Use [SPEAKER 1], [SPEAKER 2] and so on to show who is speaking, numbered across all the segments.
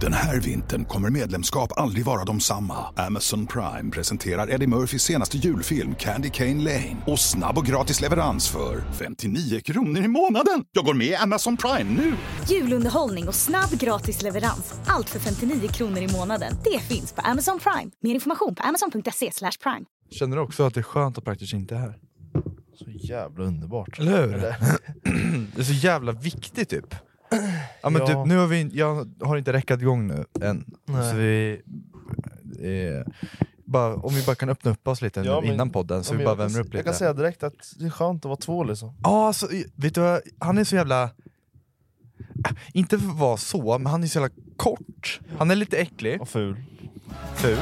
[SPEAKER 1] Den här vintern kommer medlemskap aldrig vara de samma. Amazon Prime presenterar Eddie Murphys senaste julfilm Candy Cane Lane. Och snabb och gratis leverans för 59 kronor i månaden. Jag går med i Amazon Prime nu!
[SPEAKER 2] Julunderhållning och snabb gratis leverans. Allt för 59 kronor i månaden. Det finns på Amazon Prime. Mer information på amazon.se slash prime.
[SPEAKER 3] Känner du också att det är skönt att Praktis inte är här?
[SPEAKER 4] Så jävla underbart.
[SPEAKER 3] Eller hur? det är så jävla viktigt typ. Ja, men
[SPEAKER 4] Ja.
[SPEAKER 3] typ nu har vi, in- jag har inte räckat igång nu än.
[SPEAKER 4] Nej.
[SPEAKER 3] Så vi, eh, bara, om vi bara kan öppna upp oss lite
[SPEAKER 4] Ja,
[SPEAKER 3] nu
[SPEAKER 4] men-
[SPEAKER 3] innan podden så
[SPEAKER 4] Ja, men
[SPEAKER 3] vi
[SPEAKER 4] jag
[SPEAKER 3] bara
[SPEAKER 4] kan-
[SPEAKER 3] värmer upp
[SPEAKER 4] Jag kan
[SPEAKER 3] lite.
[SPEAKER 4] säga direkt att det är skönt att vara två liksom.
[SPEAKER 3] Ja, alltså, vet du vad? Han är så jävla... Äh, Inte för att vara så, men han är så jävla kort. Han är lite äcklig.
[SPEAKER 4] Och ful.
[SPEAKER 3] Ful.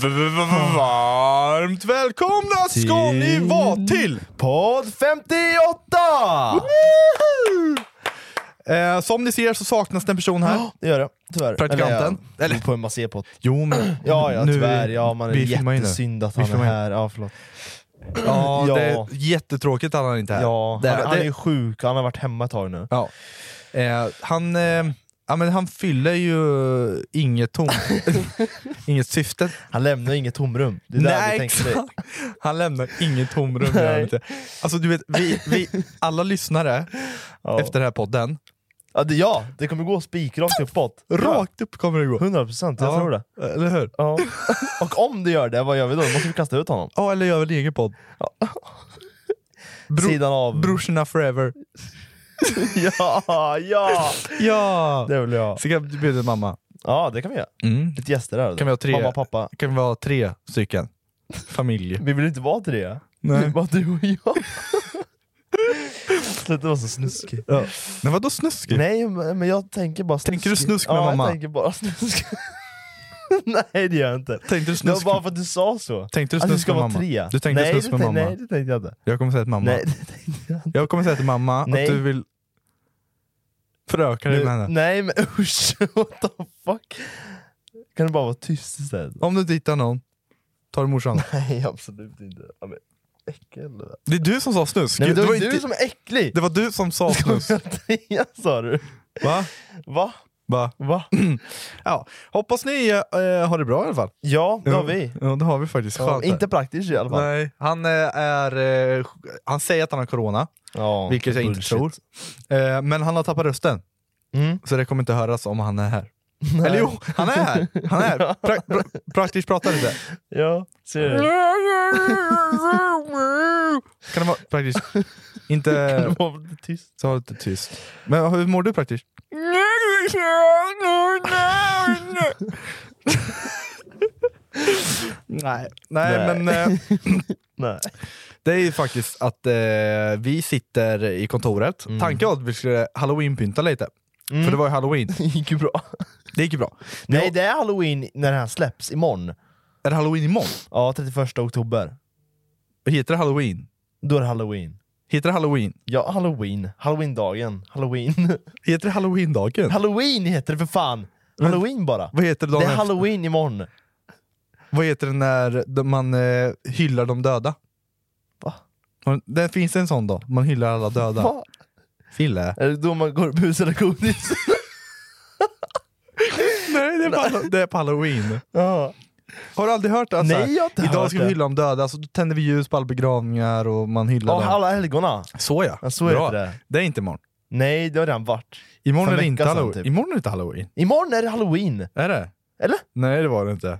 [SPEAKER 3] V- v- v- Varmt välkomna ska ni vara till!
[SPEAKER 4] Podd 58!
[SPEAKER 3] Eh, som ni ser så saknas det en person här.
[SPEAKER 4] Det gör det, tyvärr.
[SPEAKER 3] Praktikanten.
[SPEAKER 4] Eller,
[SPEAKER 3] Eller-
[SPEAKER 4] Eller? på en massépott.
[SPEAKER 3] Jo men
[SPEAKER 4] Ja, ja
[SPEAKER 3] nu-
[SPEAKER 4] tyvärr. Ja, man är
[SPEAKER 3] vi filmar ju nu.
[SPEAKER 4] jättesynd att
[SPEAKER 3] Vi
[SPEAKER 4] han är
[SPEAKER 3] filmar ju.
[SPEAKER 4] här. Ja, förlåt.
[SPEAKER 3] Ja,
[SPEAKER 4] Ja.
[SPEAKER 3] det är jättetråkigt att han inte är här.
[SPEAKER 4] Ja,
[SPEAKER 3] det,
[SPEAKER 4] han, han är ju
[SPEAKER 3] det,
[SPEAKER 4] sjuk, han har varit hemma ett tag nu.
[SPEAKER 3] ja. Eh, han, eh, ja, men han fyller ju inget tom, inget syfte.
[SPEAKER 4] Han lämnar inget tomrum. Det är där vi tänkte dig.
[SPEAKER 3] exakt. Han lämnar inget tomrum. gör han
[SPEAKER 4] Nej.
[SPEAKER 3] inte. Alltså du vet, vi, vi, alla lyssnare
[SPEAKER 4] Ja.
[SPEAKER 3] efter den här podden,
[SPEAKER 4] Ja, det, ja, det kommer gå spikrakt uppåt.
[SPEAKER 3] rakt upp kommer det gå.
[SPEAKER 4] 100%, jag
[SPEAKER 3] Ja,
[SPEAKER 4] tror det.
[SPEAKER 3] Eller hur?
[SPEAKER 4] Ja. Och om det gör det, vad gör vi då? Då måste vi kasta ut honom.
[SPEAKER 3] Ja, eller gör väl en egen podd. Bro,
[SPEAKER 4] Sidan av.
[SPEAKER 3] brorsorna forever.
[SPEAKER 4] Ja, ja!
[SPEAKER 3] Ja!
[SPEAKER 4] Det vill jag.
[SPEAKER 3] Så kan du bjuda mamma.
[SPEAKER 4] Ja, det kan vi göra.
[SPEAKER 3] Mm.
[SPEAKER 4] Lite gäster här. då.
[SPEAKER 3] Kan vi ha tre?
[SPEAKER 4] Mamma, pappa.
[SPEAKER 3] kan vara tre stycken. Familj.
[SPEAKER 4] Vi vill inte vara tre.
[SPEAKER 3] Nej.
[SPEAKER 4] Det är bara du och jag. Sluta vara så snuskig.
[SPEAKER 3] Ja. Men vadå snuskigt?
[SPEAKER 4] Nej, men men jag tänker bara snuskig.
[SPEAKER 3] Tänker du snusk med
[SPEAKER 4] ja,
[SPEAKER 3] mamma?
[SPEAKER 4] jag tänker bara snusk. nej, det gör jag inte.
[SPEAKER 3] Tänkte du
[SPEAKER 4] Det var
[SPEAKER 3] snusk?
[SPEAKER 4] bara för att du sa så.
[SPEAKER 3] Tänkte du
[SPEAKER 4] att det
[SPEAKER 3] snusk
[SPEAKER 4] ska
[SPEAKER 3] med
[SPEAKER 4] vara
[SPEAKER 3] mamma?
[SPEAKER 4] tre.
[SPEAKER 3] Du tänkte
[SPEAKER 4] nej,
[SPEAKER 3] snusk
[SPEAKER 4] det
[SPEAKER 3] med
[SPEAKER 4] tän-
[SPEAKER 3] mamma.
[SPEAKER 4] Nej, det tänkte jag inte.
[SPEAKER 3] Jag kommer säga till mamma.
[SPEAKER 4] Nej, det tänkte jag inte.
[SPEAKER 3] Jag kommer säga till mamma
[SPEAKER 4] Nej.
[SPEAKER 3] att du vill föröka dig med henne.
[SPEAKER 4] nej men usch, what the fuck. Kan du bara vara tyst istället?
[SPEAKER 3] Om du inte hittar någon, tar du morsan.
[SPEAKER 4] Nej, absolut inte. Ja, men, äckel. Nej,
[SPEAKER 3] Det är du som sa snusk.
[SPEAKER 4] men det
[SPEAKER 3] Det
[SPEAKER 4] var
[SPEAKER 3] var
[SPEAKER 4] ju du
[SPEAKER 3] inte-
[SPEAKER 4] som är äcklig!
[SPEAKER 3] Det var du som sa snusk.
[SPEAKER 4] Ja, sa du.
[SPEAKER 3] Va?
[SPEAKER 4] Va?
[SPEAKER 3] Va?
[SPEAKER 4] Va?
[SPEAKER 3] Ja. Hoppas ni eh, har det bra i alla fall.
[SPEAKER 4] Ja, det har vi.
[SPEAKER 3] Ja, det har vi faktiskt.
[SPEAKER 4] Ja,
[SPEAKER 3] Skönt.
[SPEAKER 4] inte praktiskt i alla fall.
[SPEAKER 3] Nej, han, eh, är, eh, han säger att han har corona,
[SPEAKER 4] Ja,
[SPEAKER 3] vilket jag inte
[SPEAKER 4] bullshit.
[SPEAKER 3] tror. Eh, men han har tappat rösten.
[SPEAKER 4] Mm.
[SPEAKER 3] Så det kommer inte höras om han är här. Eller jo, han är här! Han är här. Pra- pra- praktiskt pratar lite.
[SPEAKER 4] Ja, ser du?
[SPEAKER 3] Kan det vara praktiskt? Inte...
[SPEAKER 4] Var lite tyst.
[SPEAKER 3] Så var lite tyst. Men hur mår du praktiskt? Nej. Nej,
[SPEAKER 4] Nej.
[SPEAKER 3] men eh,
[SPEAKER 4] Nej.
[SPEAKER 3] det är ju faktiskt att eh, vi sitter i kontoret.
[SPEAKER 4] Mm.
[SPEAKER 3] Tanken var att vi skulle halloweenpynta lite. För det var ju halloween.
[SPEAKER 4] Det gick ju bra.
[SPEAKER 3] Det gick ju bra. Men
[SPEAKER 4] Nej,
[SPEAKER 3] jag-
[SPEAKER 4] det är halloween när den här släpps, imorgon.
[SPEAKER 3] Är det halloween imorgon?
[SPEAKER 4] Ja, 31 oktober.
[SPEAKER 3] Heter det halloween?
[SPEAKER 4] Då är det halloween.
[SPEAKER 3] Heter det halloween?
[SPEAKER 4] Ja, halloween. Halloween-dagen. Halloween.
[SPEAKER 3] Heter det halloween-dagen?
[SPEAKER 4] halloween heter det för fan! Halloween bara.
[SPEAKER 3] Vad heter det dagen
[SPEAKER 4] Det är
[SPEAKER 3] efter?
[SPEAKER 4] halloween imorgon.
[SPEAKER 3] Vad heter det när de- man eh, hyllar de döda?
[SPEAKER 4] Va?
[SPEAKER 3] Har- Det finns en sån då, man hyllar alla döda.
[SPEAKER 4] Va?
[SPEAKER 3] Fille?
[SPEAKER 4] Är det då man går och busar och godis?
[SPEAKER 3] Nej, det är, på, det är på halloween.
[SPEAKER 4] ja.
[SPEAKER 3] Har du aldrig hört det? Alltså,
[SPEAKER 4] Nej, jag har inte
[SPEAKER 3] Idag
[SPEAKER 4] hört
[SPEAKER 3] ska vi
[SPEAKER 4] det."
[SPEAKER 3] hylla de döda, så då tänder vi ljus på alla begravningar och man hyllar
[SPEAKER 4] Och
[SPEAKER 3] dem.
[SPEAKER 4] alla helgona.
[SPEAKER 3] Så ja.
[SPEAKER 4] Ja, så
[SPEAKER 3] Bra.
[SPEAKER 4] heter det.
[SPEAKER 3] Det är inte imorgon.
[SPEAKER 4] Nej, det har redan varit.
[SPEAKER 3] Imorgon
[SPEAKER 4] För
[SPEAKER 3] är det
[SPEAKER 4] en
[SPEAKER 3] inte
[SPEAKER 4] vecka sedan,
[SPEAKER 3] halloween.
[SPEAKER 4] typ.
[SPEAKER 3] Imorgon är det inte halloween.
[SPEAKER 4] Imorgon är det halloween.
[SPEAKER 3] Är det?
[SPEAKER 4] Eller?
[SPEAKER 3] Nej, det var det inte.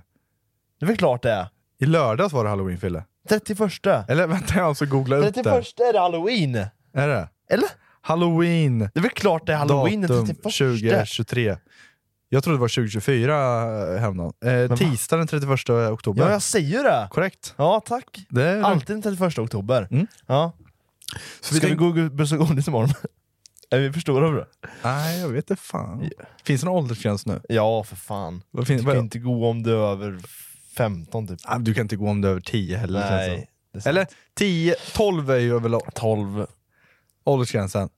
[SPEAKER 4] Det är väl klart det är.
[SPEAKER 3] I lördags var det halloween, Fille.
[SPEAKER 4] 31.
[SPEAKER 3] Eller vänta, jag måste googla upp
[SPEAKER 4] 31
[SPEAKER 3] det.
[SPEAKER 4] är det halloween. Eller?
[SPEAKER 3] Är det? Halloween.
[SPEAKER 4] Det är väl klart det är halloween den
[SPEAKER 3] datum
[SPEAKER 4] 31.
[SPEAKER 3] 2023. Jag trodde det var 2024 häromdagen. Eh,
[SPEAKER 4] va?
[SPEAKER 3] tisdag den 31 oktober.
[SPEAKER 4] Ja, jag säger ju det.
[SPEAKER 3] Korrekt.
[SPEAKER 4] Ja, tack.
[SPEAKER 3] Det är rätt.
[SPEAKER 4] Alltid den 31 oktober.
[SPEAKER 3] Mm.
[SPEAKER 4] Ja.
[SPEAKER 3] Så
[SPEAKER 4] Ska
[SPEAKER 3] vi
[SPEAKER 4] vi,
[SPEAKER 3] tänk-
[SPEAKER 4] gå och bussa godis imorgon? är vi för stora för det?
[SPEAKER 3] Nej, jag vet inte fan. Finns det någon åldersgräns nu?
[SPEAKER 4] Ja, för fan.
[SPEAKER 3] Vad fin-
[SPEAKER 4] du
[SPEAKER 3] vad-
[SPEAKER 4] kan inte gå om du är över 15 typ.
[SPEAKER 3] Ah, Du kan inte gå om det är över 10 heller. känns det som.
[SPEAKER 4] det är sant.
[SPEAKER 3] Eller 10, 12 är ju över
[SPEAKER 4] 12.
[SPEAKER 3] åldersgränsen.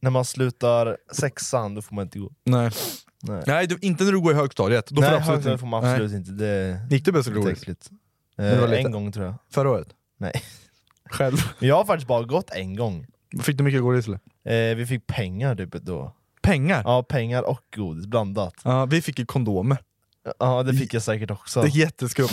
[SPEAKER 4] När man slutar sexan, då får man inte gå.
[SPEAKER 3] Nej,
[SPEAKER 4] Nej,
[SPEAKER 3] Nej du, inte när du går i högstadiet. Då får
[SPEAKER 4] Nej
[SPEAKER 3] du absolut
[SPEAKER 4] högstadiet
[SPEAKER 3] inte.
[SPEAKER 4] får man absolut inte. Det är
[SPEAKER 3] Nej. Gick du bäst roligt
[SPEAKER 4] äckligt.
[SPEAKER 3] det var
[SPEAKER 4] Eh,
[SPEAKER 3] lite.
[SPEAKER 4] en gång tror jag.
[SPEAKER 3] förra året?
[SPEAKER 4] Nej.
[SPEAKER 3] Själv?
[SPEAKER 4] Jag har faktiskt bara gått en gång.
[SPEAKER 3] Fick du mycket godis eller?
[SPEAKER 4] Eh, vi fick pengar typ då.
[SPEAKER 3] Pengar? Ja.
[SPEAKER 4] Ja, pengar och godis blandat.
[SPEAKER 3] vi fick ju kondomer.
[SPEAKER 4] Ja, det fick jag säkert också.
[SPEAKER 3] Det är jätteskumt.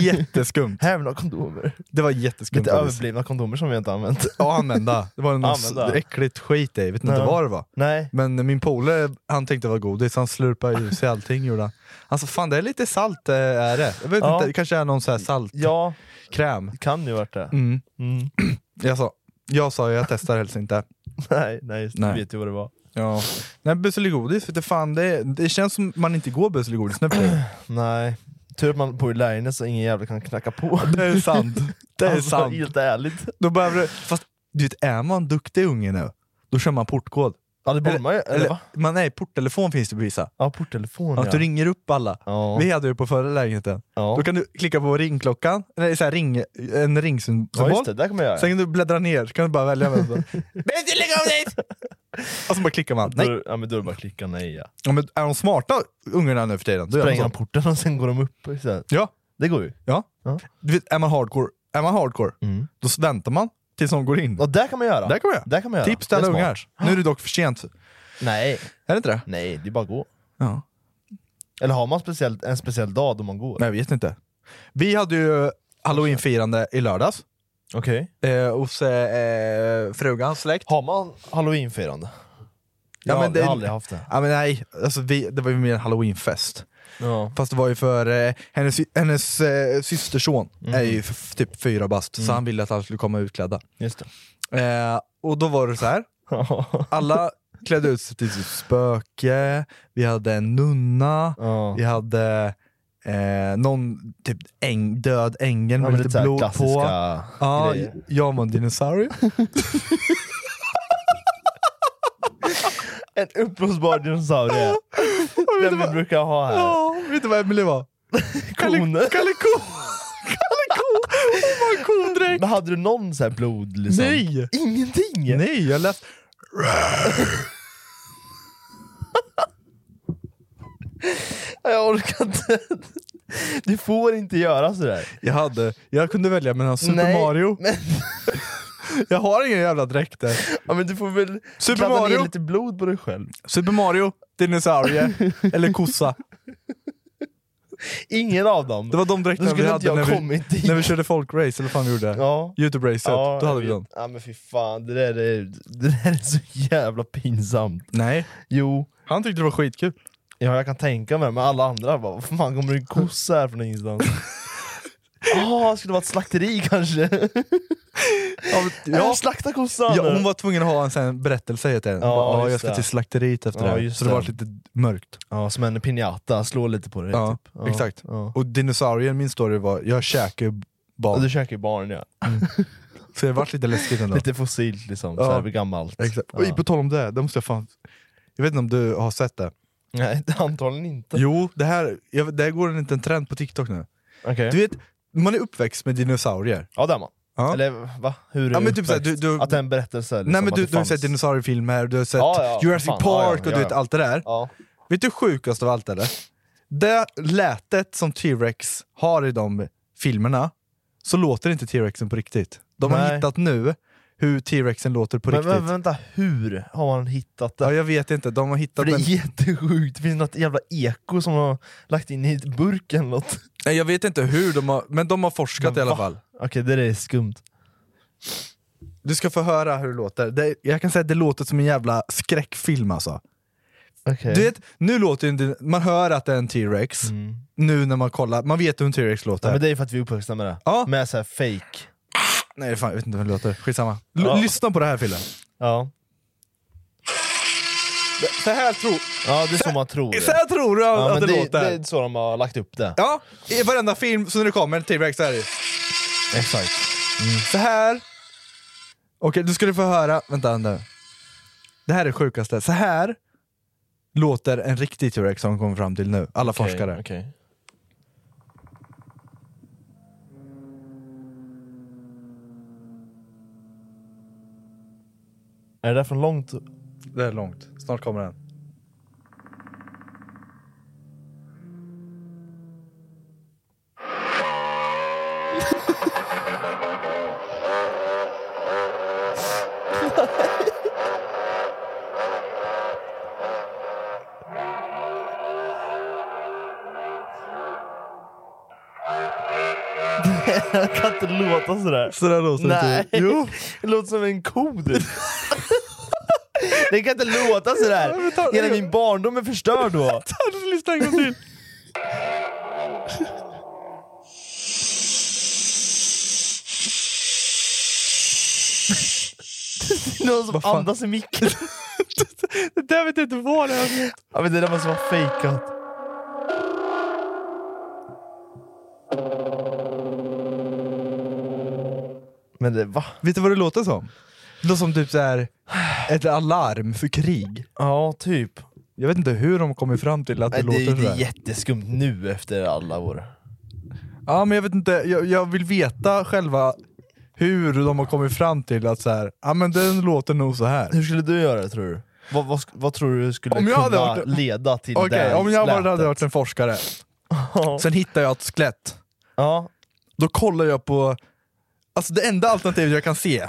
[SPEAKER 3] jätteskumt.
[SPEAKER 4] Här har vi några kondomer.
[SPEAKER 3] Det var jätteskumt.
[SPEAKER 4] Lite
[SPEAKER 3] godis.
[SPEAKER 4] överblivna kondomer som vi inte har använt.
[SPEAKER 3] Ja, använda. Det var något
[SPEAKER 4] Använda.
[SPEAKER 3] äckligt skit i, jag vet inte
[SPEAKER 4] Ja.
[SPEAKER 3] vad det var.
[SPEAKER 4] Nej.
[SPEAKER 3] Men min polare, han tänkte det var godis, han slurpade ljus i allting gjorde han. Han sa fan det är lite salt eh, är det. Jag vet
[SPEAKER 4] Ja.
[SPEAKER 3] inte, det kanske är någon sån här saltkräm.
[SPEAKER 4] Ja, kan ju varit det.
[SPEAKER 3] Mm.
[SPEAKER 4] Mm.
[SPEAKER 3] Jag sa, jag sa jag testar helst inte.
[SPEAKER 4] Nej, nej, just,
[SPEAKER 3] Nej.
[SPEAKER 4] du vet ju vad det var.
[SPEAKER 3] Ja. Nej busseligodis, vet du fan det, det känns som man inte går busseligodis nu för tiden.
[SPEAKER 4] Nej. Tur att man bor i Lärjnäs så ingen jävel kan knacka på.
[SPEAKER 3] Det är sant. Det är
[SPEAKER 4] alltså,
[SPEAKER 3] sant.
[SPEAKER 4] Helt ärligt.
[SPEAKER 3] Då behöver du, fast du vet, är man duktig unge nu, då kör man portkod.
[SPEAKER 4] Ja, det borde man ju. Eller, va?
[SPEAKER 3] man är i porttelefon finns det på vissa.
[SPEAKER 4] Ja, porttelefon
[SPEAKER 3] Att
[SPEAKER 4] ja.
[SPEAKER 3] du ringer upp alla.
[SPEAKER 4] Ja.
[SPEAKER 3] Vi hade ju på förra lägenheten.
[SPEAKER 4] Ja.
[SPEAKER 3] Då kan du klicka på ringklockan, eller så här ring, en ringsymbol.
[SPEAKER 4] ja, just det. Där kommer jag göra.
[SPEAKER 3] Sen kan du bläddra ner, så kan du bara välja. vem som- och så bara klickar man. Nej.
[SPEAKER 4] Då, ja, men då är det bara att klicka nej. Ja.
[SPEAKER 3] Ja, men är de smarta ungarna nu för tiden? Då gör de
[SPEAKER 4] Spränger de
[SPEAKER 3] så.
[SPEAKER 4] porten och sen går de upp. och Så här.
[SPEAKER 3] Ja.
[SPEAKER 4] Det går ju.
[SPEAKER 3] ja.
[SPEAKER 4] Ja.
[SPEAKER 3] Du vet, är man hardcore, är man hardcore
[SPEAKER 4] Mm.
[SPEAKER 3] då väntar man tills någon går in.
[SPEAKER 4] Och där kan man göra.
[SPEAKER 3] Där kan man göra.
[SPEAKER 4] Där kan man göra.
[SPEAKER 3] Tips
[SPEAKER 4] Det
[SPEAKER 3] till
[SPEAKER 4] är
[SPEAKER 3] alla
[SPEAKER 4] smart.
[SPEAKER 3] ungar. Nu är det dock för sent.
[SPEAKER 4] Nej,
[SPEAKER 3] Är det inte det?
[SPEAKER 4] nej, det är bara att gå.
[SPEAKER 3] Ja.
[SPEAKER 4] Eller har man speciellt, en speciell dag då man går?
[SPEAKER 3] Nej, jag vet inte. Vi hade ju halloweenfirande i lördags
[SPEAKER 4] Okej.
[SPEAKER 3] eh, hos eh, frugans släkt.
[SPEAKER 4] Har man halloweenfirande?
[SPEAKER 3] Ja,
[SPEAKER 4] Jag,
[SPEAKER 3] men
[SPEAKER 4] har- jag
[SPEAKER 3] det-
[SPEAKER 4] har aldrig haft det.
[SPEAKER 3] Ja, men nej, alltså, vi, det var ju mer en halloweenfest.
[SPEAKER 4] Ja.
[SPEAKER 3] Fast det var ju för eh, hennes, hennes eh, systerson är
[SPEAKER 4] Mhm.
[SPEAKER 3] ju f- typ fyra bast,
[SPEAKER 4] Mm.
[SPEAKER 3] så han ville att alla skulle komma utklädda.
[SPEAKER 4] Just det.
[SPEAKER 3] Eh, och då var det så här. alla klädde ut sig till sitt spöke, vi hade en nunna,
[SPEAKER 4] Ja.
[SPEAKER 3] vi hade eh, någon typ äng, död ängel
[SPEAKER 4] Ja, men
[SPEAKER 3] med
[SPEAKER 4] lite
[SPEAKER 3] lite
[SPEAKER 4] såhär
[SPEAKER 3] blod på.
[SPEAKER 4] klassiska
[SPEAKER 3] Ja,
[SPEAKER 4] grejer.
[SPEAKER 3] jag var en dinosaurie.
[SPEAKER 4] En uppblåsbar dinosaurie. Den vi brukar ha här.
[SPEAKER 3] Ja, vet du vad Emelie var?
[SPEAKER 4] Koner.
[SPEAKER 3] Kalle Ko! Kalle Ko! Hon var en kodräkt!
[SPEAKER 4] Men hade du någon så här blod liksom?
[SPEAKER 3] Nej!
[SPEAKER 4] Ingenting!
[SPEAKER 3] Nej, jag läste...
[SPEAKER 4] Jag orkar inte. Du får inte göra sådär.
[SPEAKER 3] Jag, hade, jag kunde välja mellan Super
[SPEAKER 4] Nej,
[SPEAKER 3] Mario,
[SPEAKER 4] Men,
[SPEAKER 3] jag har ingen jävla dräkt där.
[SPEAKER 4] ja, men du får väl
[SPEAKER 3] Super
[SPEAKER 4] kladda ner
[SPEAKER 3] Mario.
[SPEAKER 4] lite blod på dig själv.
[SPEAKER 3] Super Mario, dinosaurie eller kossa.
[SPEAKER 4] Ingen av dem.
[SPEAKER 3] Det var de
[SPEAKER 4] Då
[SPEAKER 3] dräkterna
[SPEAKER 4] skulle
[SPEAKER 3] vi
[SPEAKER 4] inte
[SPEAKER 3] hade
[SPEAKER 4] jag
[SPEAKER 3] när
[SPEAKER 4] kommit
[SPEAKER 3] vi,
[SPEAKER 4] dit.
[SPEAKER 3] när vi körde folkrace, eller vad fan vi gjorde.
[SPEAKER 4] Ja.
[SPEAKER 3] Youtube-racet, då hade vi
[SPEAKER 4] jag
[SPEAKER 3] dem.
[SPEAKER 4] vet. Ja men fy fan, det där, är, det där är så jävla pinsamt.
[SPEAKER 3] Nej,
[SPEAKER 4] Jo,
[SPEAKER 3] han tyckte det var skitkul.
[SPEAKER 4] ja, jag kan tänka mig men alla andra bara, vad fan kommer det en kossa här från ingenstans? Ah, skulle det vara ett slakteri kanske?
[SPEAKER 3] Ja, men- ja.
[SPEAKER 4] Slakta kossan!
[SPEAKER 3] Ja, hon var tvungen att ha en sån här berättelse heter den.
[SPEAKER 4] Ja,
[SPEAKER 3] Ja,
[SPEAKER 4] just
[SPEAKER 3] ja, jag ska
[SPEAKER 4] det.
[SPEAKER 3] till slakteriet efter
[SPEAKER 4] Ja,
[SPEAKER 3] det här.
[SPEAKER 4] just
[SPEAKER 3] Så det var
[SPEAKER 4] det.
[SPEAKER 3] lite mörkt.
[SPEAKER 4] ja, som en pinjata, slå lite på det.
[SPEAKER 3] Ja,
[SPEAKER 4] typ. ja,
[SPEAKER 3] exakt.
[SPEAKER 4] Ja.
[SPEAKER 3] Och dinosaurien, min story var, jag käkar ju
[SPEAKER 4] Och
[SPEAKER 3] barn.
[SPEAKER 4] du käkar ju barn ja.
[SPEAKER 3] Så det vart lite läskigt ändå.
[SPEAKER 4] Lite fossilt liksom,
[SPEAKER 3] Ja.
[SPEAKER 4] så här gammalt.
[SPEAKER 3] Exakt.
[SPEAKER 4] Ja.
[SPEAKER 3] Oj, på tal om det, det måste jag fan... Jag vet inte om du har sett det?
[SPEAKER 4] Nej, antagligen inte.
[SPEAKER 3] Jo, det här, jag, det här går en liten trend på TikTok nu.
[SPEAKER 4] Okej.
[SPEAKER 3] Du vet, man är uppväxt med dinosaurier.
[SPEAKER 4] Ja, där man.
[SPEAKER 3] Ja.
[SPEAKER 4] Eller va? Hur är
[SPEAKER 3] Ja, men
[SPEAKER 4] det
[SPEAKER 3] typ såhär,
[SPEAKER 4] uppväxt?
[SPEAKER 3] du- du-
[SPEAKER 4] Att det är en berättelse? Liksom,
[SPEAKER 3] Nej men
[SPEAKER 4] att
[SPEAKER 3] du,
[SPEAKER 4] det
[SPEAKER 3] du har
[SPEAKER 4] fanns-
[SPEAKER 3] ju sett dinosauriefilmer, du har sett
[SPEAKER 4] Ja, ja,
[SPEAKER 3] Jurassic
[SPEAKER 4] fan, ja, ja,
[SPEAKER 3] Park och du
[SPEAKER 4] ja,
[SPEAKER 3] vet
[SPEAKER 4] ja.
[SPEAKER 3] allt det där.
[SPEAKER 4] Ja.
[SPEAKER 3] Vet du sjukast av allt eller? Det lätet som T-Rex har i de filmerna, så låter inte T-Rexen på riktigt. De har
[SPEAKER 4] Nej.
[SPEAKER 3] hittat nu hur T-Rexen låter på
[SPEAKER 4] Men,
[SPEAKER 3] riktigt.
[SPEAKER 4] men vänta, hur har man hittat det?
[SPEAKER 3] ja, jag vet inte, de har
[SPEAKER 4] För
[SPEAKER 3] hittat
[SPEAKER 4] det
[SPEAKER 3] en...
[SPEAKER 4] är jättesjukt, det finns något jävla eko som de har lagt in i ett burk eller något.
[SPEAKER 3] Nej, jag vet inte hur de har, men de har forskat i alla
[SPEAKER 4] va?
[SPEAKER 3] fall.
[SPEAKER 4] Okej, det där är skumt.
[SPEAKER 3] Du ska få höra hur det låter. Det, jag kan säga att det låter som en jävla skräckfilm alltså.
[SPEAKER 4] Okej.
[SPEAKER 3] Du vet, nu låter ju inte, man hör att det är en T-Rex, nu när man kollar, man vet hur en T-Rex låter.
[SPEAKER 4] Mm. ja, men det är för att vi är uppvuxna med det.
[SPEAKER 3] Ja.
[SPEAKER 4] Med så här fake.
[SPEAKER 3] Nej fan, jag vet inte hur det låter, skitsamma. L-
[SPEAKER 4] Ja.
[SPEAKER 3] Lyssna på det här Fille.
[SPEAKER 4] Ja.
[SPEAKER 3] Så här tror,
[SPEAKER 4] ja, det är så man tror. det.
[SPEAKER 3] så här tror du
[SPEAKER 4] Ja,
[SPEAKER 3] att
[SPEAKER 4] men
[SPEAKER 3] det,
[SPEAKER 4] det,
[SPEAKER 3] låter.
[SPEAKER 4] det är så de har lagt upp det.
[SPEAKER 3] Ja, i varenda film, så när det kommer en T-Rex så är det
[SPEAKER 4] Exakt.
[SPEAKER 3] så här. Okej, du skulle få höra, vänta nu. Det här är det sjukaste, så här låter en riktig T-Rex som de kommer fram till nu, alla forskare.
[SPEAKER 4] Okej, okej. Är det där från långt?
[SPEAKER 3] Det är långt, snart kommer den.
[SPEAKER 4] Jag kan inte låta sådär.
[SPEAKER 3] Sådär låter
[SPEAKER 4] Nej.
[SPEAKER 3] det. typ. Jo.
[SPEAKER 4] Det låter som en ko typ. du. Det kan inte låta sådär! Hela min barndom är förstörd då!
[SPEAKER 3] Ta det, lyssna en gång till.
[SPEAKER 4] Någon som
[SPEAKER 3] fan?
[SPEAKER 4] andas i micken.
[SPEAKER 3] Det där vet jag inte vad det är.
[SPEAKER 4] Ja, men det där måste vara fejkat. Men det, va?
[SPEAKER 3] Vet du vad det låter som? Det låter som typ så här ett alarm för krig.
[SPEAKER 4] Ja, typ.
[SPEAKER 3] Jag vet inte hur de kommer fram till att det,
[SPEAKER 4] Nej, det,
[SPEAKER 3] låter
[SPEAKER 4] är- det är
[SPEAKER 3] sådär.
[SPEAKER 4] jätteskumt nu efter alla år.
[SPEAKER 3] Ja men jag vet inte, jag, jag vill veta själva hur de har kommit fram till att så här, ja men den låter nog så här.
[SPEAKER 4] Hur skulle du göra tror du? Vad, vad, sk- vad tror du skulle
[SPEAKER 3] Om jag hade
[SPEAKER 4] kunna
[SPEAKER 3] varit-
[SPEAKER 4] leda till
[SPEAKER 3] Okej,
[SPEAKER 4] det
[SPEAKER 3] om jag bara hade
[SPEAKER 4] slätet?
[SPEAKER 3] varit en forskare. Sen hittar jag ett skelett.
[SPEAKER 4] Ja,
[SPEAKER 3] Då kollar jag på, alltså det enda alternativet jag kan se,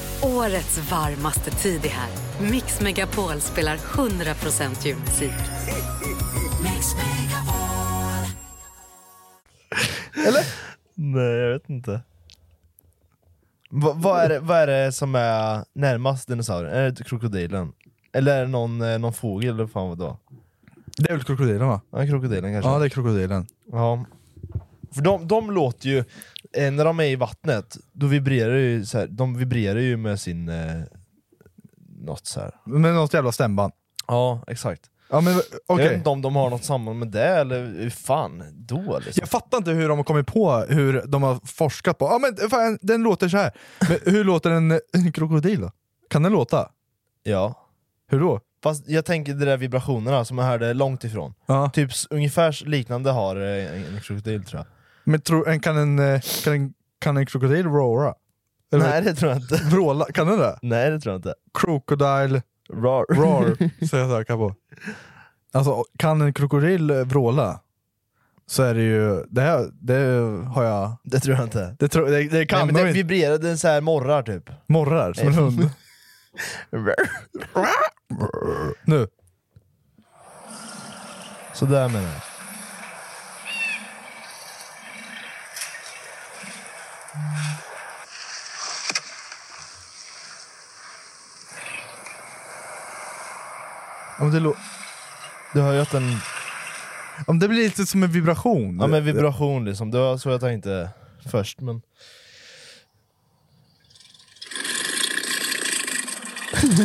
[SPEAKER 5] Årets varmaste tid är här. Mix Megapol spelar 100% julmusik.
[SPEAKER 4] nej jag vet inte. Va, vad, är det, vad är det som är närmast dinosaurien? Är det krokodilen? Eller är det någon, eh, någon fågel eller fan vad då?
[SPEAKER 3] Det är väl krokodilen va?
[SPEAKER 4] Ja, krokodilen kanske?
[SPEAKER 3] Ja det är krokodilen.
[SPEAKER 4] Ja. För de, de låter ju, eh, när de är i vattnet, då vibrerar ju så här, de vibrerar ju med sin... Eh, något så här.
[SPEAKER 3] Med något jävla stämband.
[SPEAKER 4] Ja, exakt.
[SPEAKER 3] Ja, men,
[SPEAKER 4] Jag vet
[SPEAKER 3] okej.
[SPEAKER 4] inte om de har något samband med det, eller hur fan då liksom.
[SPEAKER 3] Jag fattar inte hur de har kommit på hur de har forskat på. Ja, men fan, den låter så här. Men hur låter en, en krokodil då? Kan den låta?
[SPEAKER 4] Ja.
[SPEAKER 3] Hur då?
[SPEAKER 4] Fast jag tänker de där vibrationerna som jag hörde långt ifrån.
[SPEAKER 3] Ja.
[SPEAKER 4] Typ s- ungefär liknande har eh, en, en krokodil tror jag.
[SPEAKER 3] Men tro, en, kan, en, eh, kan, en, kan en krokodil roara? Eller
[SPEAKER 4] Nej det tror jag inte.
[SPEAKER 3] vråla? Kan den det?
[SPEAKER 4] Nej det tror jag inte.
[SPEAKER 3] Crocodile
[SPEAKER 4] Rar.
[SPEAKER 3] roar, säger jag söka på. Alltså, kan en krokodil eh, vråla så är det ju... Det, här, det har jag...
[SPEAKER 4] Det tror jag inte.
[SPEAKER 3] Det, tro, det, det
[SPEAKER 4] Nej,
[SPEAKER 3] kan
[SPEAKER 4] men
[SPEAKER 3] de
[SPEAKER 4] den
[SPEAKER 3] inte.
[SPEAKER 4] vibrerade den så här morrar typ.
[SPEAKER 3] Morrar som en hund. Nu.
[SPEAKER 4] så där menar jag.
[SPEAKER 3] Om det låter...
[SPEAKER 4] Du har ju att den...
[SPEAKER 3] Om det blir lite som en vibration.
[SPEAKER 4] Ja men vibration liksom, det var så jag tänkte först men...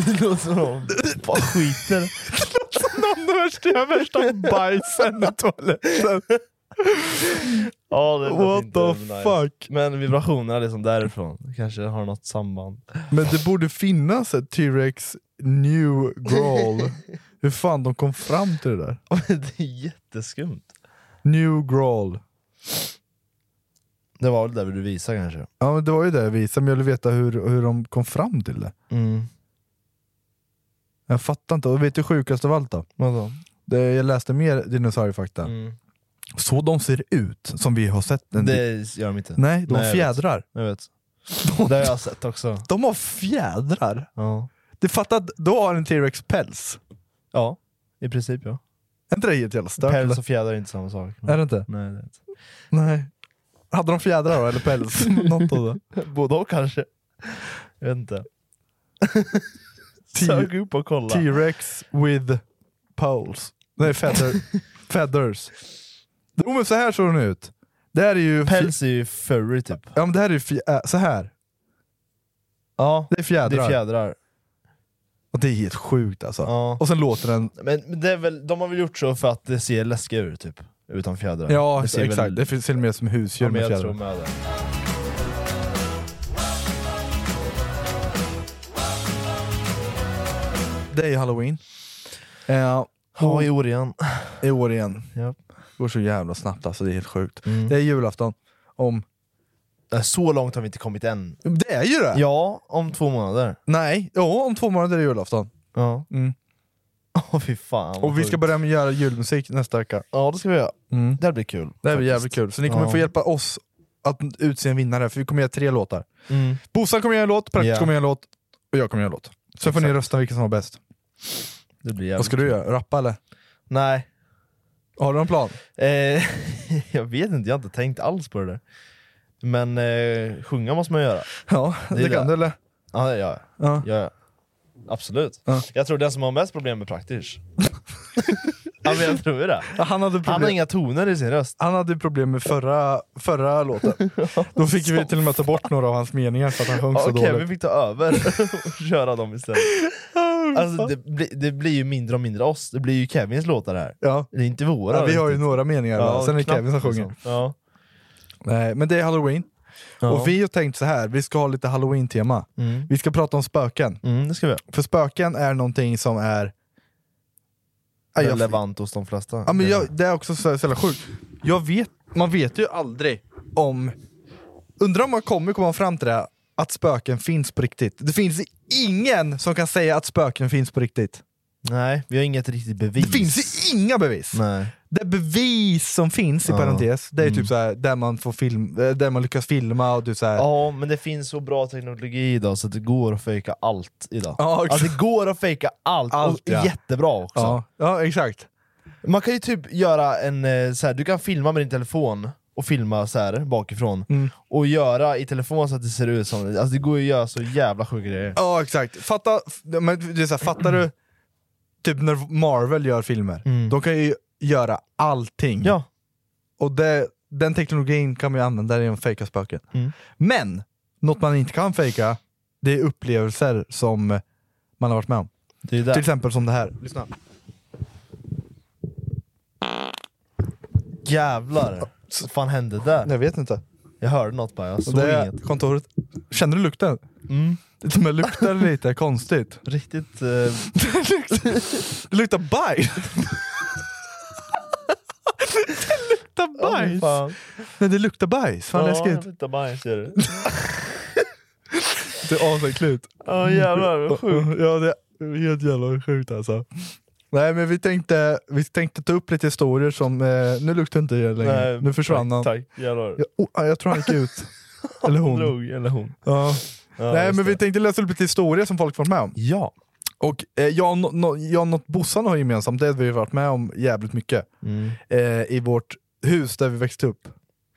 [SPEAKER 4] Det låter som någon bara skiter.
[SPEAKER 3] Någon av värsta, jag har värsta bajsen i toaletten.
[SPEAKER 4] Ja, det låter
[SPEAKER 3] What
[SPEAKER 4] inte
[SPEAKER 3] the
[SPEAKER 4] nice.
[SPEAKER 3] fuck?
[SPEAKER 4] Men vibrationerna liksom därifrån kanske har något samband.
[SPEAKER 3] Men det borde finnas ett T-Rex new growl. Hur fan de kom fram till det där?
[SPEAKER 4] det är jätteskumt.
[SPEAKER 3] New growl.
[SPEAKER 4] Det var väl där du visade kanske.
[SPEAKER 3] Ja men det var ju det jag visade, men jag ville veta hur, hur de kom fram till det. Jag fattar inte. Och vet du sjukast av allt då?
[SPEAKER 4] Vadå? Mm.
[SPEAKER 3] Det, jag läste mer dinosauriefakta. Så de ser ut, som vi har sett. den-
[SPEAKER 4] Det gör de inte.
[SPEAKER 3] Nej, de har
[SPEAKER 4] jag
[SPEAKER 3] fjädrar.
[SPEAKER 4] Vet. Jag vet. Det har jag sett också.
[SPEAKER 3] De har fjädrar!
[SPEAKER 4] Ja,
[SPEAKER 3] Du fattar, att då har en T-Rex päls.
[SPEAKER 4] ja i princip ja.
[SPEAKER 3] Är inte det helt jävla stört?
[SPEAKER 4] Päls
[SPEAKER 3] eller?
[SPEAKER 4] och fjäder är inte samma sak.
[SPEAKER 3] Är det inte?
[SPEAKER 4] Nej, det är inte.
[SPEAKER 3] Nej. Hade de fjädrar då, eller päls? Något av det.
[SPEAKER 4] Både och kanske. Jag vet inte.
[SPEAKER 3] T-
[SPEAKER 4] Sök upp och kolla.
[SPEAKER 3] T-Rex with poles. Nej, feather, feathers. Jo men så här såg den ut. Det här är ju... fj-
[SPEAKER 4] Päls är ju furry typ.
[SPEAKER 3] Ja men det här är ju fj- äh, så här.
[SPEAKER 4] Ja,
[SPEAKER 3] Det är
[SPEAKER 4] det
[SPEAKER 3] fjädrar.
[SPEAKER 4] är fjädrar.
[SPEAKER 3] Och det är helt sjukt alltså.
[SPEAKER 4] Ja.
[SPEAKER 3] Och sen låter den...
[SPEAKER 4] Men men det är väl, de har väl gjort så för att det ser läskigt ut typ. Utan fjädrar.
[SPEAKER 3] Ja
[SPEAKER 4] det ser
[SPEAKER 3] exakt,
[SPEAKER 4] Väl,
[SPEAKER 3] det ser mer som husdjur
[SPEAKER 4] ja, men
[SPEAKER 3] med
[SPEAKER 4] jag tror
[SPEAKER 3] fjädrar.
[SPEAKER 4] med det.
[SPEAKER 3] Det är ju halloween. Eh,
[SPEAKER 4] Ja, i år igen.
[SPEAKER 3] I år igen.
[SPEAKER 4] Ja. Mm.
[SPEAKER 3] går så jävla snabbt alltså, det är helt sjukt. Det är julafton. Om...
[SPEAKER 4] Nej, Äh, Så långt har vi inte kommit än.
[SPEAKER 3] Det är ju det!
[SPEAKER 4] Ja, om två månader.
[SPEAKER 3] Nej, ja, om två månader är det julafton.
[SPEAKER 4] Ja.
[SPEAKER 3] Mm.
[SPEAKER 4] Åh fy fan. vad
[SPEAKER 3] Och vi
[SPEAKER 4] sjukt.
[SPEAKER 3] ska börja med göra julmusik nästa vecka.
[SPEAKER 4] Ja det ska vi göra.
[SPEAKER 3] Mm.
[SPEAKER 4] Det här blir kul.
[SPEAKER 3] Det här blir jävligt
[SPEAKER 4] faktiskt.
[SPEAKER 3] kul. Så ni kommer
[SPEAKER 4] Ja.
[SPEAKER 3] få hjälpa oss att utse en vinnare, för vi kommer göra tre låtar.
[SPEAKER 4] Mm.
[SPEAKER 3] Bosan kommer göra en låt, Praktisk
[SPEAKER 4] Ja.
[SPEAKER 3] kommer göra en låt, och jag kommer göra en låt. Sen får ni
[SPEAKER 4] Exakt.
[SPEAKER 3] rösta vilken som var bäst.
[SPEAKER 4] Det blir jävligt
[SPEAKER 3] Vad ska du
[SPEAKER 4] kul.
[SPEAKER 3] göra? Rappa eller?
[SPEAKER 4] Nej.
[SPEAKER 3] Har du någon plan?
[SPEAKER 4] Eh, jag vet inte, jag har inte tänkt alls på det där. Men eh, sjunga måste man göra.
[SPEAKER 3] Ja, det,
[SPEAKER 4] är det.
[SPEAKER 3] kan du eller?
[SPEAKER 4] Ja, det gör jag.
[SPEAKER 3] Ja.
[SPEAKER 4] Ja, ja. Absolut.
[SPEAKER 3] Ja.
[SPEAKER 4] Jag tror den som har mest problem med praktiskt. ja, men jag tror det.
[SPEAKER 3] Han hade problem,
[SPEAKER 4] Han har inga toner i sin röst.
[SPEAKER 3] han hade problem med förra, förra låten. Då fick vi till och med ta bort några av hans meningar för att han sjöng
[SPEAKER 4] Ja,
[SPEAKER 3] så
[SPEAKER 4] Okej, vi
[SPEAKER 3] dåligt.
[SPEAKER 4] fick ta över och köra dem istället. Alltså, det, bli, det blir ju mindre och mindre oss. Det blir ju Kevins låtar här.
[SPEAKER 3] Ja.
[SPEAKER 4] Det är inte våra.
[SPEAKER 3] Ja, vi har ju
[SPEAKER 4] riktigt.
[SPEAKER 3] några meningar, ja, sen är det
[SPEAKER 4] knappt,
[SPEAKER 3] Kevin som sjunger.
[SPEAKER 4] liksom. Ja.
[SPEAKER 3] Nej, men det är halloween.
[SPEAKER 4] Ja.
[SPEAKER 3] Och vi har tänkt så här, vi ska ha lite halloween-tema.
[SPEAKER 4] Mm.
[SPEAKER 3] Vi ska prata om spöken.
[SPEAKER 4] Mm, det ska vi göra.
[SPEAKER 3] För spöken är någonting som är... Ja, jag-
[SPEAKER 4] relevant hos de flesta.
[SPEAKER 3] Ja, men jag, det är också så, så jävla sjukt. Jag vet, man vet ju aldrig om... Undrar om man kommer komma fram till det, här, att spöken finns på riktigt. Det finns ingen som kan säga att spöken finns på riktigt.
[SPEAKER 4] Nej, vi har inget riktigt bevis.
[SPEAKER 3] Det finns ju inga bevis!
[SPEAKER 4] Nej.
[SPEAKER 3] Det bevis som finns i
[SPEAKER 4] Ja. Mm.
[SPEAKER 3] parentes, det är typ så här, där, man får film, eh, där man lyckas filma och du så här,
[SPEAKER 4] Ja, men det finns så bra teknologi idag så att det går att fejka allt idag.
[SPEAKER 3] Ja, exakt.
[SPEAKER 4] alltså, det går att fejka allt,
[SPEAKER 3] Allt,
[SPEAKER 4] och
[SPEAKER 3] ja.
[SPEAKER 4] jättebra också.
[SPEAKER 3] Ja, ja exakt.
[SPEAKER 4] Man kan ju typ göra en, eh, så här, du kan filma med din telefon och filma så här bakifrån,
[SPEAKER 3] Mm.
[SPEAKER 4] och göra i telefon så att det ser ut som, alltså det går ju att göra så jävla sjuka grejer.
[SPEAKER 3] Ja exakt. Fatta, men det är så här, fattar du, typ när Marvel gör filmer, de kan ju göra allting.
[SPEAKER 4] Mm. Ja,
[SPEAKER 3] Och det, den teknologin kan man ju använda genom att fejka spöken.
[SPEAKER 4] Mm.
[SPEAKER 3] Men, något man inte kan fejka, det är upplevelser som man har varit med om.
[SPEAKER 4] det är där.
[SPEAKER 3] Till exempel som det här. Lyssna.
[SPEAKER 4] Jävlar, vad fan hände där?
[SPEAKER 3] Jag vet inte.
[SPEAKER 4] Jag hörde något bara, jag såg
[SPEAKER 3] Det är
[SPEAKER 4] inget. Mm.
[SPEAKER 3] kontoret. Känner du lukten? Det till och med luktar lite konstigt.
[SPEAKER 4] Riktigt... Eh,
[SPEAKER 3] Det luktar bajs! det luktar
[SPEAKER 4] ja, men
[SPEAKER 3] bajs!
[SPEAKER 4] fan.
[SPEAKER 3] Nej det luktar bajs, fan
[SPEAKER 4] jag
[SPEAKER 3] läskigt.
[SPEAKER 4] luktar bajs gör det.
[SPEAKER 3] Det är asäckligt.
[SPEAKER 4] Ja jävlar vad sjukt.
[SPEAKER 3] Ja det är helt jävla sjukt alltså. Nej men vi tänkte, vi tänkte ta upp lite historier som, eh, nu luktar inte det längre,
[SPEAKER 4] Nej,
[SPEAKER 3] nu försvann han.
[SPEAKER 4] tack, Tack, jävlar.
[SPEAKER 3] Jag, oh, jag tror han gick ut. Eller
[SPEAKER 4] hon.
[SPEAKER 3] hon.
[SPEAKER 4] Drog, eller hon.
[SPEAKER 3] Ja.
[SPEAKER 4] Ja,
[SPEAKER 3] Nej
[SPEAKER 4] just
[SPEAKER 3] men
[SPEAKER 4] det.
[SPEAKER 3] vi tänkte läsa upp lite historier som folk varit med om.
[SPEAKER 4] Ja.
[SPEAKER 3] Och eh, jag, no, no, jag och något bossan har gemensamt, det har vi varit med om jävligt mycket.
[SPEAKER 4] Mm.
[SPEAKER 3] Eh, I vårt hus där vi växte upp.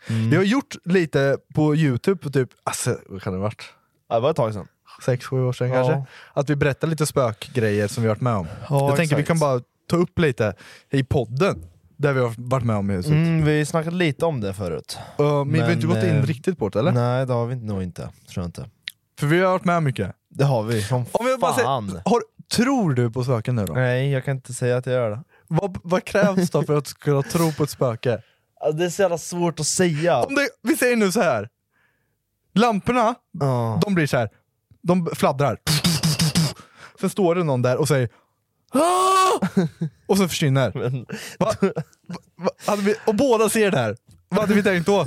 [SPEAKER 4] Mm.
[SPEAKER 3] Vi har gjort lite på youtube på typ, alltså, vad kan det ha varit?
[SPEAKER 4] Ja, det var ett tag sedan.
[SPEAKER 3] 6-7 år sedan
[SPEAKER 4] Ja.
[SPEAKER 3] kanske. Att vi berättar lite spökgrejer som vi varit med om. jag tänker vi
[SPEAKER 4] exakt.
[SPEAKER 3] kan bara ta upp lite i podden, där vi har varit med om i huset.
[SPEAKER 4] Mm, vi snackade lite om det förut.
[SPEAKER 3] Eh, men, vi har
[SPEAKER 4] men,
[SPEAKER 3] inte gått in
[SPEAKER 4] eh,
[SPEAKER 3] riktigt på det eller?
[SPEAKER 4] Nej det har vi nog inte, tror jag inte.
[SPEAKER 3] För vi har varit med om mycket.
[SPEAKER 4] Det har vi, som
[SPEAKER 3] Om jag bara
[SPEAKER 4] fan.
[SPEAKER 3] säger, har, tror du på spöken nu då?
[SPEAKER 4] Nej, jag kan inte säga att jag gör det.
[SPEAKER 3] Vad, vad krävs då för att du ska kunna tro på ett spöke?
[SPEAKER 4] Alltså, det är så jävla svårt att säga.
[SPEAKER 3] Om det, vi säger nu så här. lamporna,
[SPEAKER 4] Ja.
[SPEAKER 3] de blir så här. de fladdrar. Sen står det någon där och säger "Ah!" och så försvinner.
[SPEAKER 4] Men,
[SPEAKER 3] Va? Va? Hade vi, och båda ser det här. Vad hade vi tänkt då?